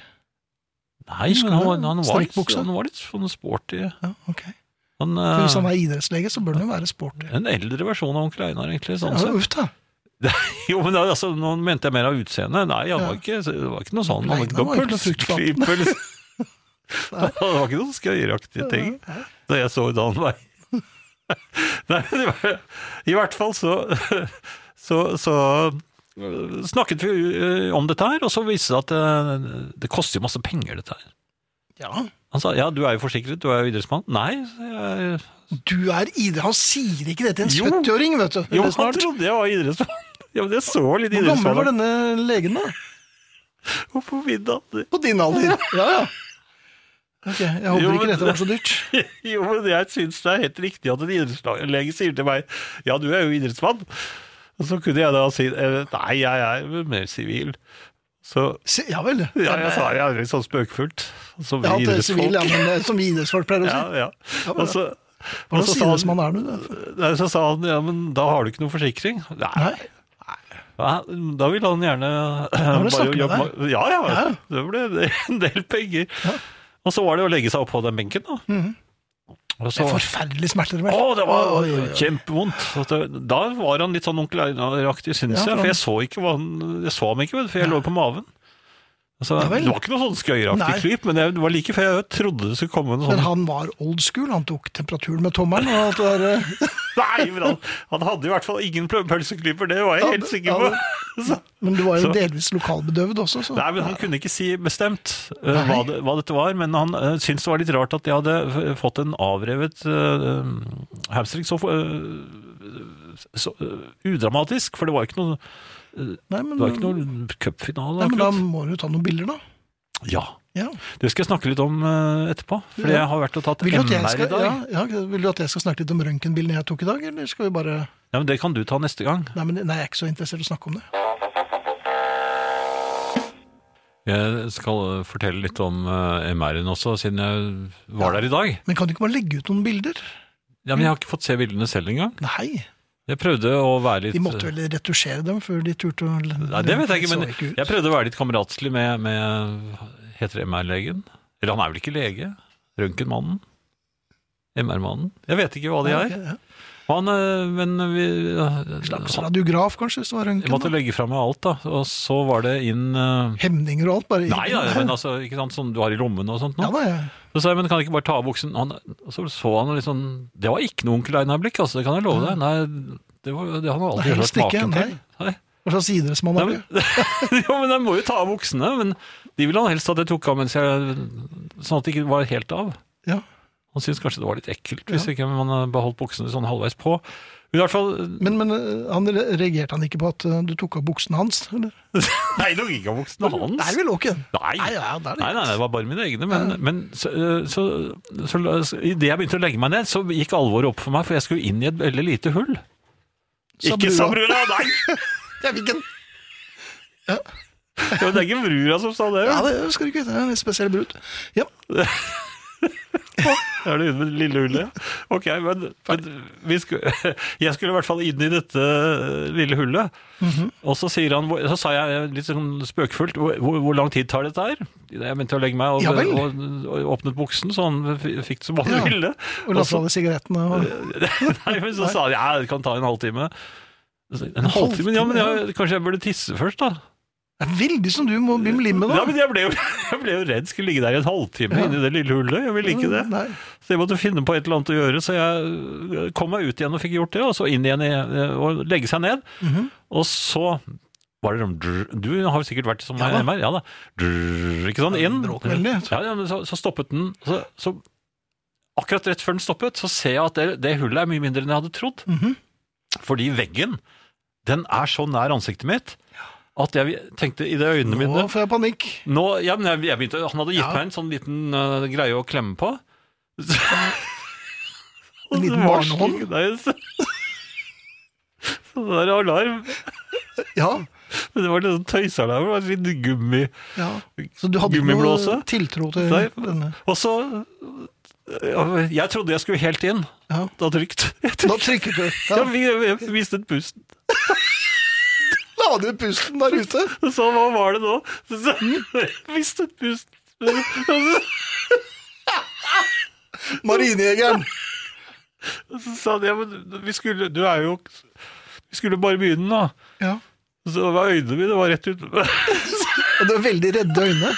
Speaker 2: Nei,
Speaker 1: Husker
Speaker 2: men han,
Speaker 1: du
Speaker 2: var-
Speaker 1: det?
Speaker 2: han, var, litt-
Speaker 1: Strekkbukse?
Speaker 2: han var litt sånn sporty.
Speaker 1: Ja, ok.
Speaker 2: Han,
Speaker 1: For Hvis han
Speaker 2: eh,
Speaker 1: er idrettslege, så bør han jo være sporty.
Speaker 2: en eldre versjon av onkel Einar, egentlig.
Speaker 1: Ja,
Speaker 2: sånn sett.
Speaker 1: uff da.
Speaker 2: Jo, men da, altså, nå mente jeg mer av utseendet. Nei, han var
Speaker 1: Ja.
Speaker 2: ikke, det var ikke noe sånn.
Speaker 1: Nei,
Speaker 2: Han hadde
Speaker 1: han var
Speaker 2: ikke
Speaker 1: ikke
Speaker 2: noe
Speaker 1: noe
Speaker 2: pølseklype. eller- Det var ikke noen skøyeraktige ting da jeg så da han var Nei, det var, i hvert fall så, så, så øh, snakket vi øh, om dette her, og så viste det seg at øh, det koster jo masse penger, dette her.
Speaker 1: Ja.
Speaker 2: Han sa ja, du er jo forsikret, du er jo idrettsmann. Nei, sa jeg,
Speaker 1: Du er idrett... Han sier ikke det til
Speaker 2: Jo.
Speaker 1: en 70-åring, vet du.
Speaker 2: jo,
Speaker 1: Eller
Speaker 2: han
Speaker 1: snart.
Speaker 2: trodde jeg var idrettsmann. Ja, men jeg så litt
Speaker 1: Hvor gammel var
Speaker 2: idrettsmann
Speaker 1: denne legen, da?
Speaker 2: på middag.
Speaker 1: På din alder. Ja, ja. Ok, Jeg håper
Speaker 2: Jo,
Speaker 1: ikke
Speaker 2: men-
Speaker 1: dette var så dyrt.
Speaker 2: Jo, men jeg syns det er helt riktig at en idrettslege sier til meg ja, du er jo idrettsmann. Og så kunne jeg da si eh, nei, jeg er mer sivil. Så
Speaker 1: Se- Ja vel.
Speaker 2: ja, jeg sa det litt sånn spøkefullt. Som
Speaker 1: Jeg har
Speaker 2: vi
Speaker 1: hatt det sivil, ja,
Speaker 2: idrettsfolk.
Speaker 1: men det er som vi idrettsfolk pleier å
Speaker 2: Ja,
Speaker 1: si.
Speaker 2: ja.
Speaker 1: Ja, men
Speaker 2: Og så, og
Speaker 1: Hvordan
Speaker 2: så, sa
Speaker 1: sier det som han
Speaker 2: han,
Speaker 1: er nå? da?
Speaker 2: nei, så sa han ja, men da har du ikke noen forsikring. Nei.
Speaker 1: Nei.
Speaker 2: Ja, Da vil han gjerne
Speaker 1: ble det snakk med
Speaker 2: jobbe
Speaker 1: deg.
Speaker 2: med- Ja, ja, Det ble en del penger. Og så var det å legge seg opp på den benken, da.
Speaker 1: Mhm.
Speaker 2: Og
Speaker 1: Det
Speaker 2: så,
Speaker 1: er forferdelige smerter, vel.
Speaker 2: Å, det var Sånn.
Speaker 1: Oi, oi, oi.
Speaker 2: kjempevondt. Og det- Da var han litt sånn onkel Einar-aktig, syns
Speaker 1: Ja, for
Speaker 2: jeg. For
Speaker 1: han-
Speaker 2: jeg så ikke hva han Jeg så ham ikke, vet du, for jeg lå på maven. Altså,
Speaker 1: Ja vel.
Speaker 2: det var ikke noe sånn
Speaker 1: Nei.
Speaker 2: skøyeraktig klyp, men jeg- det var like før jeg trodde det skulle komme noe
Speaker 1: Men
Speaker 2: sånn.
Speaker 1: han var old school, han tok temperaturen med tommelen og alt det der.
Speaker 2: Nei, men han, han hadde i hvert fall ingen plø- pølseklyper, det var jeg
Speaker 1: Ja,
Speaker 2: helt
Speaker 1: det-
Speaker 2: sikker
Speaker 1: ja,
Speaker 2: på.
Speaker 1: det-
Speaker 2: Så,
Speaker 1: Men du var jo
Speaker 2: Så-
Speaker 1: delvis lokalbedøvd også, så
Speaker 2: nei, men Han kunne ikke si bestemt eh,
Speaker 1: Nei.
Speaker 2: hva, det, hva dette var, men han eh, syntes det var litt rart at jeg hadde f- fått en avrevet eh, hamstring så, eh, så eh, udramatisk, for det var ikke noe
Speaker 1: Nei, men,
Speaker 2: Det var ikke noen cupfinale,
Speaker 1: nei, men da
Speaker 2: akkurat.
Speaker 1: må du ta noen bilder, da.
Speaker 2: Ja.
Speaker 1: Ja.
Speaker 2: Det skal jeg snakke litt om eh, etterpå. For
Speaker 1: Ja.
Speaker 2: jeg har vært og tatt
Speaker 1: Vil, du
Speaker 2: MR
Speaker 1: at jeg
Speaker 2: i
Speaker 1: skal,
Speaker 2: dag.
Speaker 1: ja,
Speaker 2: Ja.
Speaker 1: ja, vil du at jeg skal snakke litt om røntgenbildene jeg tok i dag, eller skal vi bare
Speaker 2: men Det kan du ta neste gang.
Speaker 1: Nei, men, nei jeg er ikke så interessert i å snakke om det.
Speaker 2: Jeg skal eh, fortelle litt om eh, MR-en også, siden jeg var der i dag.
Speaker 1: Men kan du ikke bare legge ut noen bilder?
Speaker 2: Ja, Men jeg har ikke fått se bildene selv engang.
Speaker 1: Nei.
Speaker 2: Jeg prøvde å være litt
Speaker 1: De måtte vel retusjere dem før de turte å
Speaker 2: Nei, det vet jeg ikke, men
Speaker 1: så ut.
Speaker 2: jeg prøvde å være litt kameratslig med, med Heter det MR-legen? Eller han er vel ikke lege? Røntgenmannen? MR-mannen. Jeg vet ikke hva de er.
Speaker 1: Ja.
Speaker 2: Han, eh, men vi eh,
Speaker 1: Slaps
Speaker 2: han,
Speaker 1: radiograf, kanskje, hvis det var
Speaker 2: Jeg
Speaker 1: røntgen.
Speaker 2: måtte
Speaker 1: da.
Speaker 2: legge fra meg alt, da. Og så var det inn eh,
Speaker 1: Hemninger og alt, bare.
Speaker 2: Nei, ja, men altså, ikke sant, som du har i lommen og sånt
Speaker 1: Ja,
Speaker 2: nå.
Speaker 1: da, ja.
Speaker 2: Så sa jeg, men kan jeg ikke bare ta av buksen? Han, og så så han litt sånn Det var ikke noe onkel Einar-blikk, altså, det kan jeg love deg. Nei, det, var, det han har
Speaker 1: Nei,
Speaker 2: aldri hørt
Speaker 1: helst ikke,
Speaker 2: maken til.
Speaker 1: nei.
Speaker 2: Nei.
Speaker 1: Hva slags idrett man
Speaker 2: Nei,
Speaker 1: har.
Speaker 2: men, jo, men jeg må jo ta av buksene. Men de ville han helst at jeg tok av mens jeg Sånn at det ikke var helt av.
Speaker 1: Ja.
Speaker 2: Han syntes kanskje det var litt ekkelt hvis ikke man beholdt buksene sånn halvveis på. Men i hvert fall
Speaker 1: Men, men eh, han re- reagerte han ikke på at eh, du tok av buksene hans? Eller?
Speaker 2: Nei, det var ikke av buksene hans.
Speaker 1: Nei, vi lå ikke.
Speaker 2: Nei.
Speaker 1: Nei, ja, det er det.
Speaker 2: Nei, nei, det var bare mine egne. Men, men så, eh, så, så, så idet jeg begynte å legge meg ned, så gikk alvoret opp for meg, for jeg skulle inn i et veldig lite hull.
Speaker 1: Sa
Speaker 2: Ikke
Speaker 1: brura.
Speaker 2: sa brura, nei!
Speaker 1: Jeg fikk en.
Speaker 2: Det var- det er ikke brura som sa det.
Speaker 1: Ja, det skal du ikke vite. Det er en litt spesiell brud. Ja,
Speaker 2: Da Er det ute med det lille hullet? Ok, men, men vi skulle, jeg skulle i hvert fall inn i dette eh, lille hullet.
Speaker 1: Mhm.
Speaker 2: Og så, sier han, hvor- så sa jeg litt sånn spøkefullt hvor, hvor hvor lang tid tar dette her? Jeg begynte å legge meg og,
Speaker 1: Ja vel.
Speaker 2: og, og åpnet buksen, så han f- fikk det som han
Speaker 1: Ja.
Speaker 2: ville.
Speaker 1: og la
Speaker 2: Og så-
Speaker 1: fra deg sigarettene. Og...
Speaker 2: Nei, men så sa han ja, det kan ta en halvtime. Så, En halvtime? Ja, men jeg, kanskje jeg burde tisse først, da?
Speaker 1: Det er veldig som du må bli med da.
Speaker 2: Ja, men jeg ble, jo, jeg ble jo redd skulle ligge der i en halvtime
Speaker 1: Ja.
Speaker 2: inni det lille hullet. Jeg ville ikke det.
Speaker 1: Mm, Nei.
Speaker 2: Så jeg måtte finne på et eller annet å gjøre, så jeg kom meg ut igjen og fikk gjort det, og så inn igjen i- eh, og legge seg ned.
Speaker 1: Mhm.
Speaker 2: Og så var det sånn drr, Du har jo sikkert vært som
Speaker 1: Ja da.
Speaker 2: meg, ja da. Drr, ikke sånn, inn.
Speaker 1: bråk veldig.
Speaker 2: Ja, ja, men så, så stoppet den. Så, så akkurat rett før den stoppet, så ser jeg at det, det hullet er mye mindre enn jeg hadde trodd.
Speaker 1: Mhm.
Speaker 2: Fordi veggen, den er så nær ansiktet mitt at jeg tenkte i det øynene mine
Speaker 1: Nå får jeg panikk.
Speaker 2: nå, ja, men jeg, jeg begynte, Han hadde gitt
Speaker 1: Ja.
Speaker 2: meg en sånn liten øh, greie å klemme på.
Speaker 1: En liten barnehånd?
Speaker 2: Nei, så, så det der alarm.
Speaker 1: Ja.
Speaker 2: Men Det var litt sånn tøysealarm. det var Litt gummi.
Speaker 1: ja. Så du hadde ikke noe
Speaker 2: Gummiblåse?
Speaker 1: tiltro til
Speaker 2: Nei.
Speaker 1: denne?
Speaker 2: Og så øh, Jeg trodde jeg skulle helt inn.
Speaker 1: Ja.
Speaker 2: Da trykt. Jeg,
Speaker 1: Da
Speaker 2: trykt.
Speaker 1: trykket du. Ja.
Speaker 2: jeg, jeg, jeg mistet pusten.
Speaker 1: La du pusten der ute?
Speaker 2: Så hva var det nå? Så, jeg mistet pusten. Så
Speaker 1: Marinejegeren.
Speaker 2: sa han ja, men vi skulle Du er jo Vi skulle bare begynne, da.
Speaker 1: Ja.
Speaker 2: Så var øynene mine var rett ut
Speaker 1: Og du har veldig redde øyne.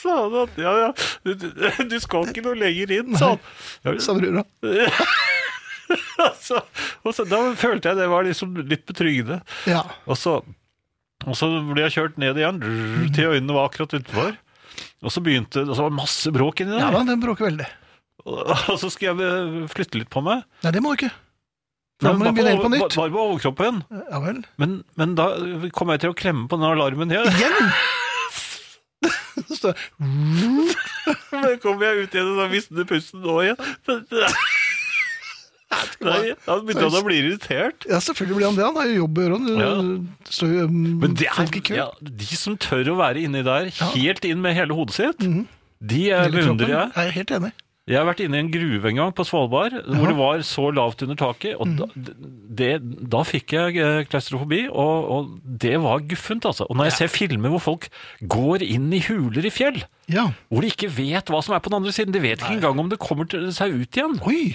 Speaker 2: Sa han at ja, ja, du, du- du skal ikke noe lenger inn, sa han. Ja,
Speaker 1: sa brura.
Speaker 2: altså, og så, da følte jeg det var liksom litt betryggende.
Speaker 1: Ja.
Speaker 2: Og så, og så ble jeg kjørt ned igjen, drrr, til øynene var akkurat utenfor. Og så begynte og så var det masse bråk inni
Speaker 1: ja
Speaker 2: der.
Speaker 1: da, den bråker veldig.
Speaker 2: Og, og så skulle jeg eh, flytte litt på meg.
Speaker 1: Nei, det må du ikke. Da må
Speaker 2: Nei,
Speaker 1: du begynne helt på
Speaker 2: bare, på,
Speaker 1: nytt.
Speaker 2: bare på overkroppen.
Speaker 1: Ja vel.
Speaker 2: Men, men da kom jeg til å klemme på den alarmen her.
Speaker 1: Igjen! Så står det,
Speaker 2: Men kom jeg ut igjen, og da mistet pusten nå igjen. Nei, han begynte han å bli irritert.
Speaker 1: Ja, selvfølgelig blir han det. Han har jo jobb å gjøre. Han
Speaker 2: Ja.
Speaker 1: det står jo um,
Speaker 2: Men det
Speaker 1: folk i kø.
Speaker 2: er, ja, de som tør å være inni der, helt inn med hele hodet sitt, de eh,
Speaker 1: Hele kroppen.
Speaker 2: beundrer jeg.
Speaker 1: Jeg er helt enig.
Speaker 2: Jeg har vært inne i en gruve en gang på Svalbard, hvor det var så lavt under taket, og da, det, da fikk jeg eh, klaustrofobi, og, og det var guffent, altså. Og når jeg ser filmer hvor folk går inn i huler i fjell,
Speaker 1: Ja.
Speaker 2: hvor de ikke vet hva som er på den andre siden, de vet ikke engang om det kommer til seg ut igjen.
Speaker 1: Oi!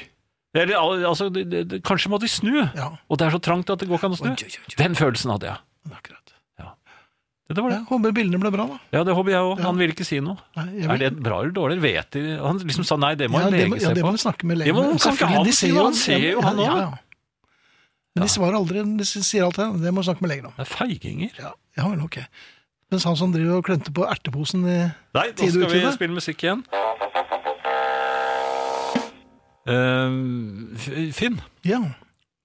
Speaker 2: Eller, al- altså, det, det, det, kanskje må de snu,
Speaker 1: Ja.
Speaker 2: og det er så trangt at det går ikke an å snu.
Speaker 1: Oi, oi, oi, oi.
Speaker 2: Den følelsen hadde jeg.
Speaker 1: Akkurat.
Speaker 2: Det, det var det.
Speaker 1: Jeg håper bildene ble bra, da.
Speaker 2: Ja, det håper jeg òg.
Speaker 1: Ja.
Speaker 2: Han vil ikke si noe.
Speaker 1: Nei, jeg
Speaker 2: Er
Speaker 1: vil-
Speaker 2: det bra eller dårlig? Vet de Han liksom sa nei, det må
Speaker 1: ja,
Speaker 2: en
Speaker 1: det må,
Speaker 2: lege
Speaker 1: ja,
Speaker 2: se
Speaker 1: det må
Speaker 2: på.
Speaker 1: du snakke med
Speaker 2: Ja,
Speaker 1: legen
Speaker 2: men hvorfor kan
Speaker 1: Selvfølgelig, de
Speaker 2: ikke han si det? Han ser jo, han
Speaker 1: ja,
Speaker 2: også.
Speaker 1: ja, ja. Men de svarer aldri, de s- sier alt det. Det må du snakke med legen om.
Speaker 2: Det er feiginger.
Speaker 1: Ja, ja vel, ok. Mens han som driver og klønte på erteposen i
Speaker 2: Nei, nå
Speaker 1: Tid
Speaker 2: skal
Speaker 1: ut i
Speaker 2: vi
Speaker 1: det.
Speaker 2: spille musikk igjen. Ehm, F- Finn,
Speaker 1: Ja,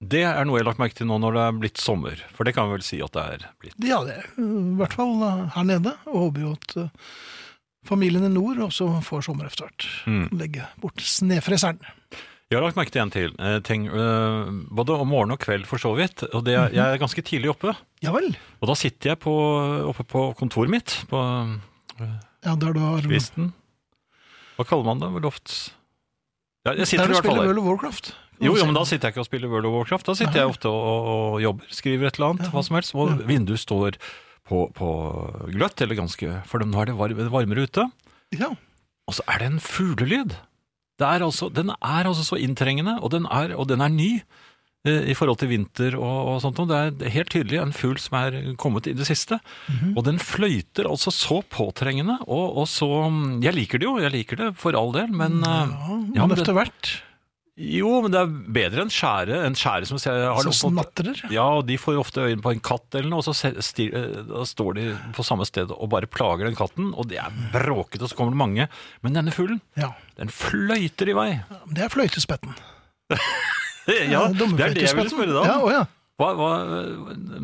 Speaker 2: det er noe jeg har lagt merke til nå når det er blitt sommer. For det kan vi vel si at det er blitt.
Speaker 1: det ja, det er i hvert fall eh, her nede. Og håper jo at eh, familien i nord også får sommer etter hvert.
Speaker 2: Mm.
Speaker 1: Legge bort snefreseren.
Speaker 2: Jeg har lagt merke til en til. eh, ting, eh, både om morgen og kveld, for så vidt. Og det, jeg er ganske tidlig oppe.
Speaker 1: Ja vel.
Speaker 2: Og da sitter jeg på, oppe på kontoret mitt, på
Speaker 1: Mm. Ja, der du har
Speaker 2: kvisten. Hva kaller man det? Lofts? Ja, jeg sitter
Speaker 1: Der
Speaker 2: i
Speaker 1: du
Speaker 2: hvert fall
Speaker 1: spiller
Speaker 2: der.
Speaker 1: World of Warcraft.
Speaker 2: Jo, jo, men da sitter jeg ikke og spiller World of Warcraft. Da sitter jeg ofte og, og, og jobber, skriver et eller annet, hva som helst. Og vinduet står på, på gløtt, eller ganske For nå er det var- varmere ute.
Speaker 1: Ja,
Speaker 2: Og så er det en fuglelyd. Det er altså, den er altså så inntrengende, og den er, og den er ny eh, i forhold til vinter og, og sånt. noe. Det er helt tydelig en fugl som er kommet i det siste. Og den fløyter altså så påtrengende, og, og så mm, Jeg liker det jo, jeg liker det for all del, men eh, ja,
Speaker 1: men
Speaker 2: men det,
Speaker 1: etter hvert
Speaker 2: Jo, men det er bedre enn skjære, en skjære som ser- har
Speaker 1: så
Speaker 2: oppått-
Speaker 1: snatrer
Speaker 2: ja, og de får jo ofte øynene på en katt eller noe, og så se- sti- eh, da står de på samme sted og bare plager den katten, og det er bråkete, og så kommer det mange. Men denne fuglen,
Speaker 1: Ja,
Speaker 2: den fløyter i vei.
Speaker 1: det er fløytespetten.
Speaker 2: Eh, Ja, det er det jeg ville
Speaker 1: Dommerfløytespetten.
Speaker 2: spørre deg
Speaker 1: Ja,
Speaker 2: om.
Speaker 1: å ja.
Speaker 2: Hva, hva,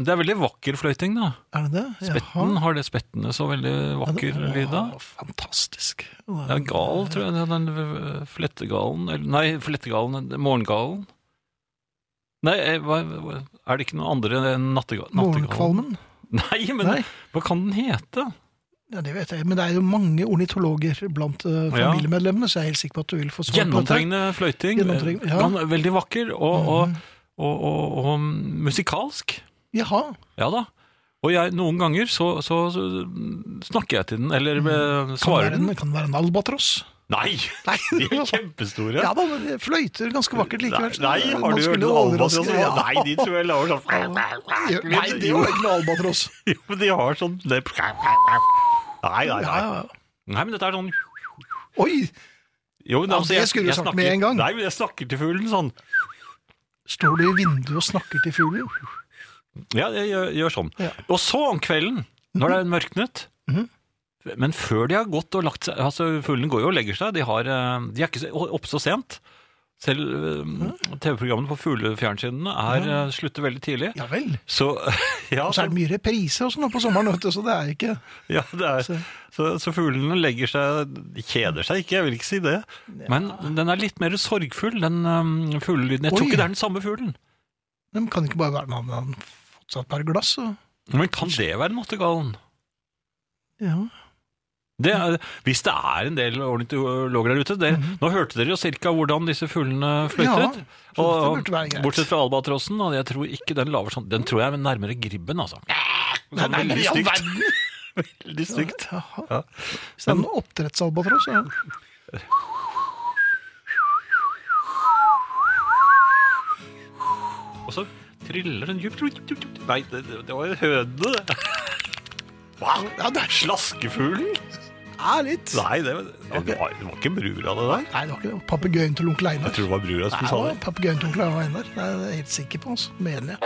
Speaker 2: det er veldig vakker fløyting, da.
Speaker 1: Er det det? Jaha.
Speaker 2: Spetten, har det spettene så veldig vakker
Speaker 1: Ja,
Speaker 2: lyd da?
Speaker 1: Fantastisk.
Speaker 2: Det er gal, tror jeg, det er den eh, flettegalen, eller nei, flettegalen, morgengalen. Nei, eh, hva, hva- er det ikke noe andre enn nattegalen?
Speaker 1: Morgenkvalmen?
Speaker 2: Nei, men
Speaker 1: Nei,
Speaker 2: hva kan den hete?
Speaker 1: ja, det vet jeg. Men det er jo mange ornitologer blant eh,
Speaker 2: Ja.
Speaker 1: familiemedlemmene, så jeg er helt sikker på at du vil få svar på dette.
Speaker 2: Gjennomtrengende fløyting.
Speaker 1: Gjennomtrengende, ja. Mm.
Speaker 2: Han er veldig vakker og, og, og, og, og musikalsk.
Speaker 1: Jaha.
Speaker 2: Ja da. Og jeg, noen ganger så, så, så snakker jeg til den, eller eh,
Speaker 1: Mm. Kan
Speaker 2: svarer
Speaker 1: være en,
Speaker 2: den.
Speaker 1: kan være en albatross.
Speaker 2: Nei!
Speaker 1: Nei,
Speaker 2: De er kjempestore.
Speaker 1: Ja da, men det fløyter ganske vakkert likevel. så
Speaker 2: Nei,
Speaker 1: man
Speaker 2: har du hørt
Speaker 1: skulle
Speaker 2: en albatross?
Speaker 1: overraske- Ja.
Speaker 2: Nei, de tror jeg lager sånn
Speaker 1: Nei, det var ikke noe albatross.
Speaker 2: Jo, men de har sånn det- Nei, nei,
Speaker 1: Ja,
Speaker 2: nei.
Speaker 1: ja.
Speaker 2: Nei, men dette er sånn
Speaker 1: Oi,
Speaker 2: jo, men
Speaker 1: Ja,
Speaker 2: altså,
Speaker 1: det skulle du sagt med en gang.
Speaker 2: Nei, men jeg snakker til fuglen sånn.
Speaker 1: står du i vinduet og snakker til fuglen?
Speaker 2: Ja, jeg gjør, gjør sånn.
Speaker 1: Ja.
Speaker 2: Og så om kvelden, når det er mørknet
Speaker 1: Mhm.
Speaker 2: Men før de har gått og lagt seg altså Fuglene går jo og legger seg. De, har, eh, de er ikke så- oppe så sent. Selv eh,
Speaker 1: Mhm.
Speaker 2: TV-programmene på fuglefjernsynene er, eh, slutter veldig tidlig.
Speaker 1: Ja vel.
Speaker 2: Så, ja,
Speaker 1: Og så er
Speaker 2: så,
Speaker 1: det mye reprise og sånn nå på sommeren, vet du, så det er ikke
Speaker 2: ja, det er,
Speaker 1: så-
Speaker 2: så, så fuglene legger seg De kjeder seg ikke, jeg vil ikke si det. Men den er litt mer sorgfull, den um, fuglelyden. Jeg tror
Speaker 1: Oi.
Speaker 2: ikke det er den samme fuglen.
Speaker 1: De kan ikke bare være med han har fått seg et par glass og
Speaker 2: Men kan det være nattergallen?
Speaker 1: Ja.
Speaker 2: Det er, hvis det er en del ornitologer der ute det, Nå hørte dere jo cirka hvordan disse fuglene fløytet.
Speaker 1: Mhm. så
Speaker 2: og,
Speaker 1: det burde være greit.
Speaker 2: bortsett fra albatrossen, og jeg tror ikke den laver sånn Den tror jeg er nærmere gribben, altså. Sånn
Speaker 1: nei,
Speaker 2: veldig
Speaker 1: i all
Speaker 2: stygt. veldig stygt.
Speaker 1: Jaha.
Speaker 2: Ja.
Speaker 1: Hvis det er en oppdrettsalbatross, ja.
Speaker 2: Og så triller den djupt Nei, det, det det var jo høne, det. Wow,
Speaker 1: ja det er sl-
Speaker 2: Slaskefuglen?
Speaker 1: er litt Nei,
Speaker 2: Nei, det, var- det, var, det var ikke brura, det der.
Speaker 1: det var ikke det. Papegøyen til onkel Einar.
Speaker 2: Jeg tror det var brura som
Speaker 1: Nei,
Speaker 2: sa
Speaker 1: det var
Speaker 2: det.
Speaker 1: papegøyen til onkel Einar. Det er jeg helt sikker på, altså. Mener jeg.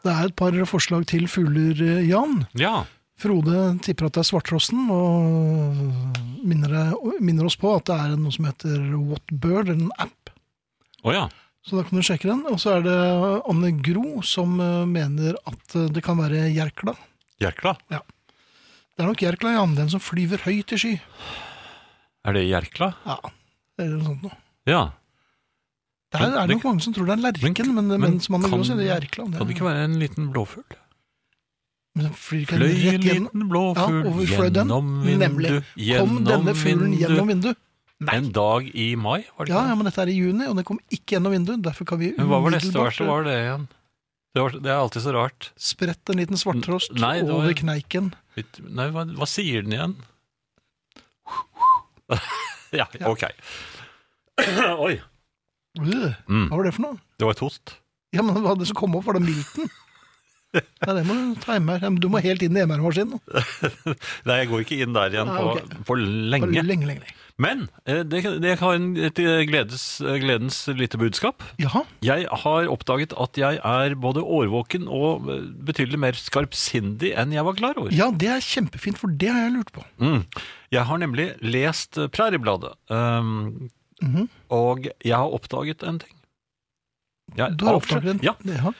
Speaker 1: Det er et par forslag til fugler, eh, Jan.
Speaker 2: Ja.
Speaker 1: Frode tipper at det er svarttrosten, og minner, minner oss på at det er noe som heter Whatbird, en app.
Speaker 2: Å ja.
Speaker 1: Så da kan du sjekke den. Og så er det Anne Gro som eh, mener at eh, det kan være jerkla.
Speaker 2: Jerkla.
Speaker 1: Det er nok jerkla, Jan, den som flyver høyt i sky.
Speaker 2: Er det Jerkla?
Speaker 1: Ja, eller noe sånt noe.
Speaker 2: Ja.
Speaker 1: Det er,
Speaker 2: Men-
Speaker 1: er det nok mange som tror det er en lerken, men, men, som Anne Gro sier, det er jerkla.
Speaker 2: Kan det ikke være en liten blåfugl?
Speaker 1: Men den flyr ikke
Speaker 2: Fløy en
Speaker 1: rett gjennom.
Speaker 2: liten blåfugl
Speaker 1: Ja, og hvorfor fløy den?
Speaker 2: gjennom
Speaker 1: Nemlig.
Speaker 2: vindu.
Speaker 1: Kom
Speaker 2: Gjennom
Speaker 1: denne fuglen
Speaker 2: vindu.
Speaker 1: gjennom vinduet?
Speaker 2: En dag i mai, var
Speaker 1: Ja,
Speaker 2: det ikke
Speaker 1: ja,
Speaker 2: det?
Speaker 1: men dette er i juni, og den kom ikke gjennom vinduet. Derfor kan vi
Speaker 2: Men hva var neste
Speaker 1: umiddelbart-
Speaker 2: vers? så Var det igjen? Det, var, det er alltid så rart.
Speaker 1: Spredt en liten svarttrost
Speaker 2: N- nei, det var-
Speaker 1: over kneiken.
Speaker 2: Litt- Nei, hva, hva sier den igjen? ja, ok. Oi.
Speaker 1: Øh,
Speaker 2: Mm.
Speaker 1: Hva var det for noe?
Speaker 2: Det var et host.
Speaker 1: Ja, men hva det som kom opp? Var det Milton? Nei, det må du ta hjemme her. Ja, men Du må helt inn i MR-maskinen. nå.
Speaker 2: Nei, jeg går ikke inn der igjen
Speaker 1: Nei,
Speaker 2: på,
Speaker 1: ok.
Speaker 2: på
Speaker 1: Bare
Speaker 2: lenge.
Speaker 1: Lenge, lenge, lenge.
Speaker 2: Men eh, det, det har en, et eh, gledes, gledens lite budskap.
Speaker 1: Jaha.
Speaker 2: Jeg har oppdaget at jeg er både årvåken og eh, betydelig mer skarpsindig enn jeg var klar over.
Speaker 1: Ja, det er kjempefint, for det har jeg lurt på.
Speaker 2: Mm. Jeg har nemlig lest eh, Præriebladet, um,
Speaker 1: Mhm.
Speaker 2: og jeg har oppdaget en ting. Jeg,
Speaker 1: Du har oppdaget Mm, den?
Speaker 2: Ja,
Speaker 1: Jaha.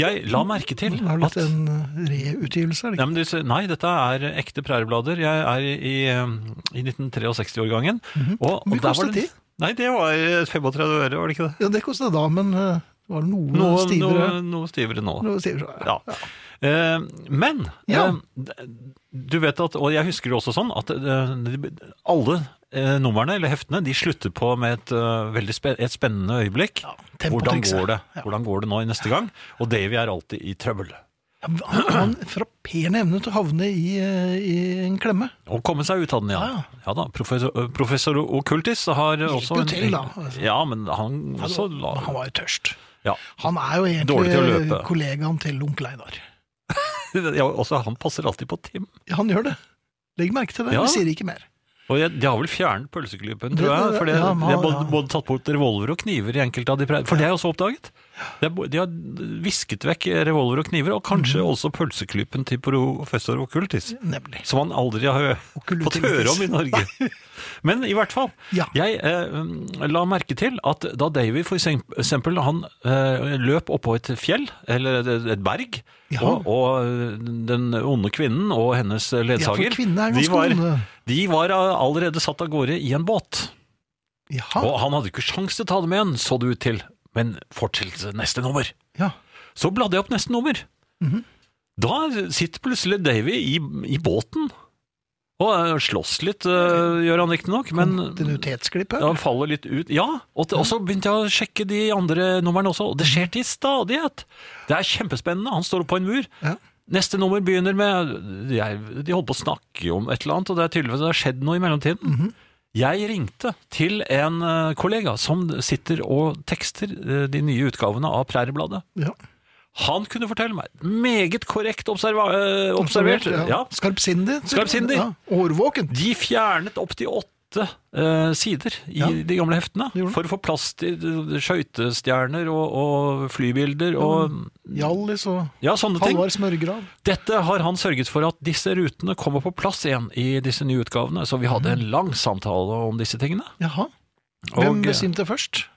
Speaker 2: jeg la merke til
Speaker 1: Det er vel
Speaker 2: at
Speaker 1: litt en eh, reutgivelse, er det
Speaker 2: Nei,
Speaker 1: ikke?
Speaker 2: men disse- nei, dette er ekte Prærieblader. Jeg er i, eh, i 1963-årgangen. og,
Speaker 1: Hvor mye
Speaker 2: der var
Speaker 1: Mm. kostet
Speaker 2: det-
Speaker 1: de?
Speaker 2: Nei, det var 35 øre, var det ikke det?
Speaker 1: Ja, det kostet da, men eh, det var eh, noe,
Speaker 2: Noe
Speaker 1: stivere.
Speaker 2: Noe, noe stivere nå.
Speaker 1: Noe stivere.
Speaker 2: Ja. Eh, men
Speaker 1: Ja.
Speaker 2: eh, d- du vet at, og jeg husker det også sånn, at eh, de- alle eh, numrene eller heftene de slutter på med et eh, veldig spe et spennende øyeblikk.
Speaker 1: tempotrikset.
Speaker 2: Hvordan går det?
Speaker 1: Ja.
Speaker 2: Hvordan går det nå i neste gang? Og Davy er alltid i trøbbel.
Speaker 1: Han har en frapperende evne til å havne i, eh, i en klemme.
Speaker 2: Å komme seg ut av den, ja.
Speaker 1: Ja,
Speaker 2: ja. da, Professor, øh, professor Okultis har også
Speaker 1: jo til, da, altså.
Speaker 2: Ja, men han også la,
Speaker 1: Han var jo tørst.
Speaker 2: ja.
Speaker 1: Han er jo
Speaker 2: Dårlig til å
Speaker 1: egentlig
Speaker 2: løpe.
Speaker 1: kollegaen til onkel Einar.
Speaker 2: ja, også han passer alltid på Tim.
Speaker 1: Ja, Han gjør det. Legg merke til det.
Speaker 2: Ja.
Speaker 1: Vi sier ikke mer.
Speaker 2: Og jeg, De har vel fjernet pølseklypen,
Speaker 1: Det-
Speaker 2: tror jeg.
Speaker 1: det-
Speaker 2: For det,
Speaker 1: ja, man-
Speaker 2: de har både,
Speaker 1: ja.
Speaker 2: både tatt bort revolver og kniver i enkelte av de pre... For det er jo også oppdaget. De har, bo- de har visket vekk revolver og kniver, og
Speaker 1: Mhm.
Speaker 2: kanskje også pølseklypen til professor Okultis.
Speaker 1: Nemlig.
Speaker 2: Som han aldri har fått
Speaker 1: Okultis.
Speaker 2: høre om i Norge. Men i hvert fall,
Speaker 1: Ja.
Speaker 2: jeg eh, la merke til at da Davy for eksempel han eh, løp oppå et fjell, eller et, et berg,
Speaker 1: Ja.
Speaker 2: og, og den onde kvinnen og hennes ledsager,
Speaker 1: kvinnen er
Speaker 2: de,
Speaker 1: ganske
Speaker 2: var,
Speaker 1: onde.
Speaker 2: de var eh, allerede satt av gårde i en båt.
Speaker 1: Jaha.
Speaker 2: Og han hadde ikke sjans til å ta dem igjen, så det ut til. Men fortsettelse neste nummer.
Speaker 1: Ja.
Speaker 2: Så bladde jeg opp neste nummer.
Speaker 1: Mhm.
Speaker 2: Da sitter plutselig Davy i, i båten. Og eh, slåss litt, eh, gjør han riktignok, men
Speaker 1: Kontinuitetsklipp her.
Speaker 2: han faller litt ut. Ja, og, t- og så begynte jeg å sjekke de andre numrene også, og det skjer til stadighet. Det er kjempespennende. Han står oppe på en mur.
Speaker 1: Ja.
Speaker 2: Neste nummer begynner med jeg, De holdt på å snakke om et eller annet, og det er tydeligvis det har skjedd noe i mellomtiden. Jeg ringte til en eh, kollega som sitter og tekster eh, de nye utgavene av Præriebladet.
Speaker 1: Ja.
Speaker 2: Han kunne fortelle meg. Meget korrekt observa eh, observert.
Speaker 1: Observert,
Speaker 2: Ja.
Speaker 1: Skarpsindig.
Speaker 2: Skarpsindig.
Speaker 1: Ja. Årvåken.
Speaker 2: De fjernet opp til åtte eh, sider i
Speaker 1: Ja.
Speaker 2: de gamle heftene
Speaker 1: Det gjorde de.
Speaker 2: for å få plass til eh, skøytestjerner og, og flybilder og
Speaker 1: Hjallis og
Speaker 2: ja, sånne ting.
Speaker 1: Halvard Smørgrav.
Speaker 2: Dette har han sørget for at disse rutene kommer på plass igjen i disse nye utgavene, så vi hadde en lang samtale om disse tingene.
Speaker 1: Jaha. Mm. Hvem
Speaker 2: Og- eh,
Speaker 1: besvimte først?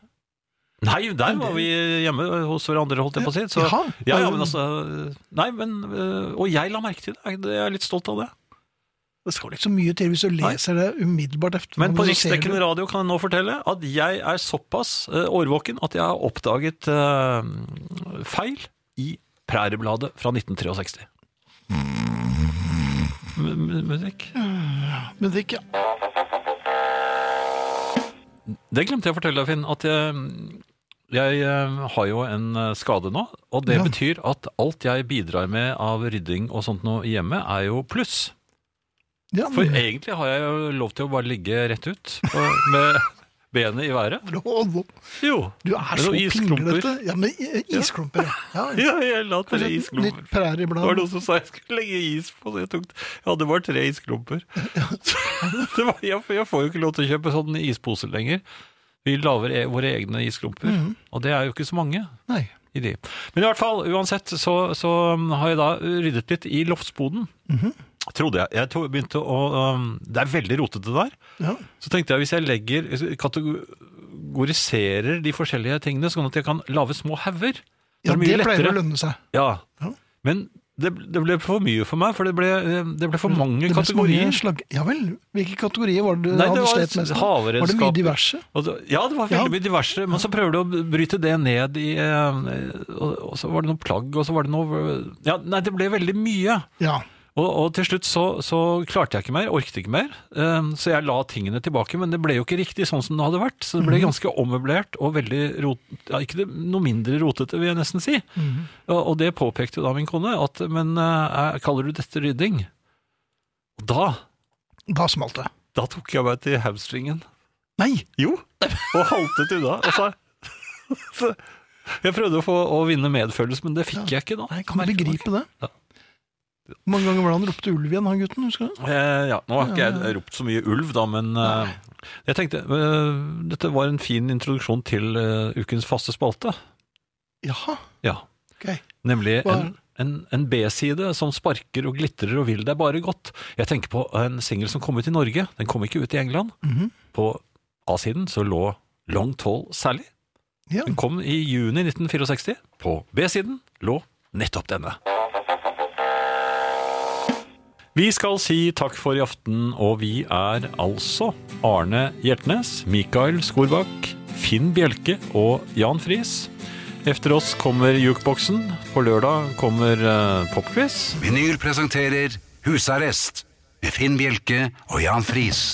Speaker 2: Nei, der var vi hjemme hos hverandre, holdt jeg på å si. Så,
Speaker 1: Jaha.
Speaker 2: ja, ja, men altså, nei, men, øh, og jeg la merke til det, jeg er litt stolt av det.
Speaker 1: Det skal ikke så mye til hvis du leser det umiddelbart efter
Speaker 2: Men på
Speaker 1: hverandre, så ser
Speaker 2: riksdekkende radio kan jeg nå fortelle at jeg er såpass øh, årvåken at jeg har oppdaget øh, feil i Præriebladet fra 1963. M- m- Musikk.
Speaker 1: du- Men det er ikke
Speaker 2: Det glemte jeg å fortelle deg, Finn, at jeg, jeg eh, har jo en eh, skade nå. Og det
Speaker 1: Ja.
Speaker 2: betyr at alt jeg bidrar med av rydding og sånt nå i hjemmet, er jo pluss.
Speaker 1: ja,
Speaker 2: For egentlig har jeg jo lov til å bare ligge rett ut og- med benet i været.
Speaker 1: Nå-
Speaker 2: Jo.
Speaker 1: Du er
Speaker 2: Men
Speaker 1: så
Speaker 2: noen isklumper.
Speaker 1: pinglete. Ja, men i- isklumper, ja. ja.
Speaker 2: Ja, jeg la tre
Speaker 1: Kanskje et
Speaker 2: isklumper.
Speaker 1: nytt prærieblad.
Speaker 2: Det var noen som sa jeg skulle legge is på, så jeg tok Ja, det var tre isklumper. Det var, jeg, jeg får jo ikke lov til å kjøpe sånne isposer lenger. Vi lager e våre egne isklumper,
Speaker 1: Mhm.
Speaker 2: og det er jo ikke så mange.
Speaker 1: Nei.
Speaker 2: i de. Men i hvert fall, uansett, så, så har jeg da ryddet litt i loftsboden.
Speaker 1: Mhm.
Speaker 2: Trodde jeg. Jeg to- begynte å um, Det er veldig rotete der.
Speaker 1: Ja.
Speaker 2: Så tenkte jeg hvis jeg legger kategoriserer de forskjellige tingene, sånn at jeg kan lage små hauger.
Speaker 1: ja,
Speaker 2: er mye
Speaker 1: det pleier å
Speaker 2: lettere.
Speaker 1: lønne seg.
Speaker 2: Ja.
Speaker 1: Ja.
Speaker 2: Men det, det ble for mye for meg, for det ble, eh, det ble for mange
Speaker 1: Det ble så mange
Speaker 2: kategorier.
Speaker 1: Slag... Ja vel. Hvilke kategorier var det
Speaker 2: Nei, det
Speaker 1: han
Speaker 2: var
Speaker 1: slet mest med? Var det
Speaker 2: havredskaper.
Speaker 1: mye diverse?
Speaker 2: Og det- Ja, det var
Speaker 1: Ja.
Speaker 2: veldig mye diverse, men så prøver du å bryte det ned i eh, Og og så var det noe plagg, og så var det noe Ja, nei, det ble veldig mye.
Speaker 1: Ja.
Speaker 2: Og, og til slutt så, så klarte jeg ikke mer, orket ikke mer, eh, så jeg la tingene tilbake, men det ble jo ikke riktig sånn som det hadde vært, så det
Speaker 1: Mhm.
Speaker 2: ble ganske ommøblert og veldig rot, ja, ikke det, noe mindre rotete, vil jeg nesten si.
Speaker 1: Mhm.
Speaker 2: Og, og det påpekte jo da min kone, at men eh, kaller du dette rydding? Og da,
Speaker 1: Da smalt det.
Speaker 2: da tok jeg meg til hamstringen.
Speaker 1: Nei!
Speaker 2: Jo, og haltet unna. Og så, så jeg prøvde å få å vinne medfølelse, men det fikk jeg ikke da.
Speaker 1: Nei, kan du
Speaker 2: Merker man ikke.
Speaker 1: begripe det?
Speaker 2: Ja.
Speaker 1: Hvor mange ganger var det han ropte ulv igjen, han gutten? husker du?
Speaker 2: Eh, ja, nå har ikke jeg ropt så mye ulv, da, men eh, jeg tenkte eh, Dette var en fin introduksjon til eh, ukens faste spalte.
Speaker 1: Jaha,
Speaker 2: Ja,
Speaker 1: ok.
Speaker 2: Nemlig
Speaker 1: Hva er
Speaker 2: en, en, en B-side som sparker og glitrer og vil deg bare godt. Jeg tenker på en singel som kom ut i Norge. Den kom ikke ut i England.
Speaker 1: Mhm.
Speaker 2: På A-siden så lå Long Tall Sally.
Speaker 1: Ja.
Speaker 2: Den kom i juni 1964. På B-siden lå nettopp denne. Vi skal si takk for i aften, og vi er altså Arne Hjertnes, Mikael Skorbakk, Finn Bjelke og Jan Friis. Efter oss kommer jukeboksen. På lørdag kommer eh, popquiz.
Speaker 3: Vinyl presenterer Husarrest med Finn Bjelke og Jan Friis.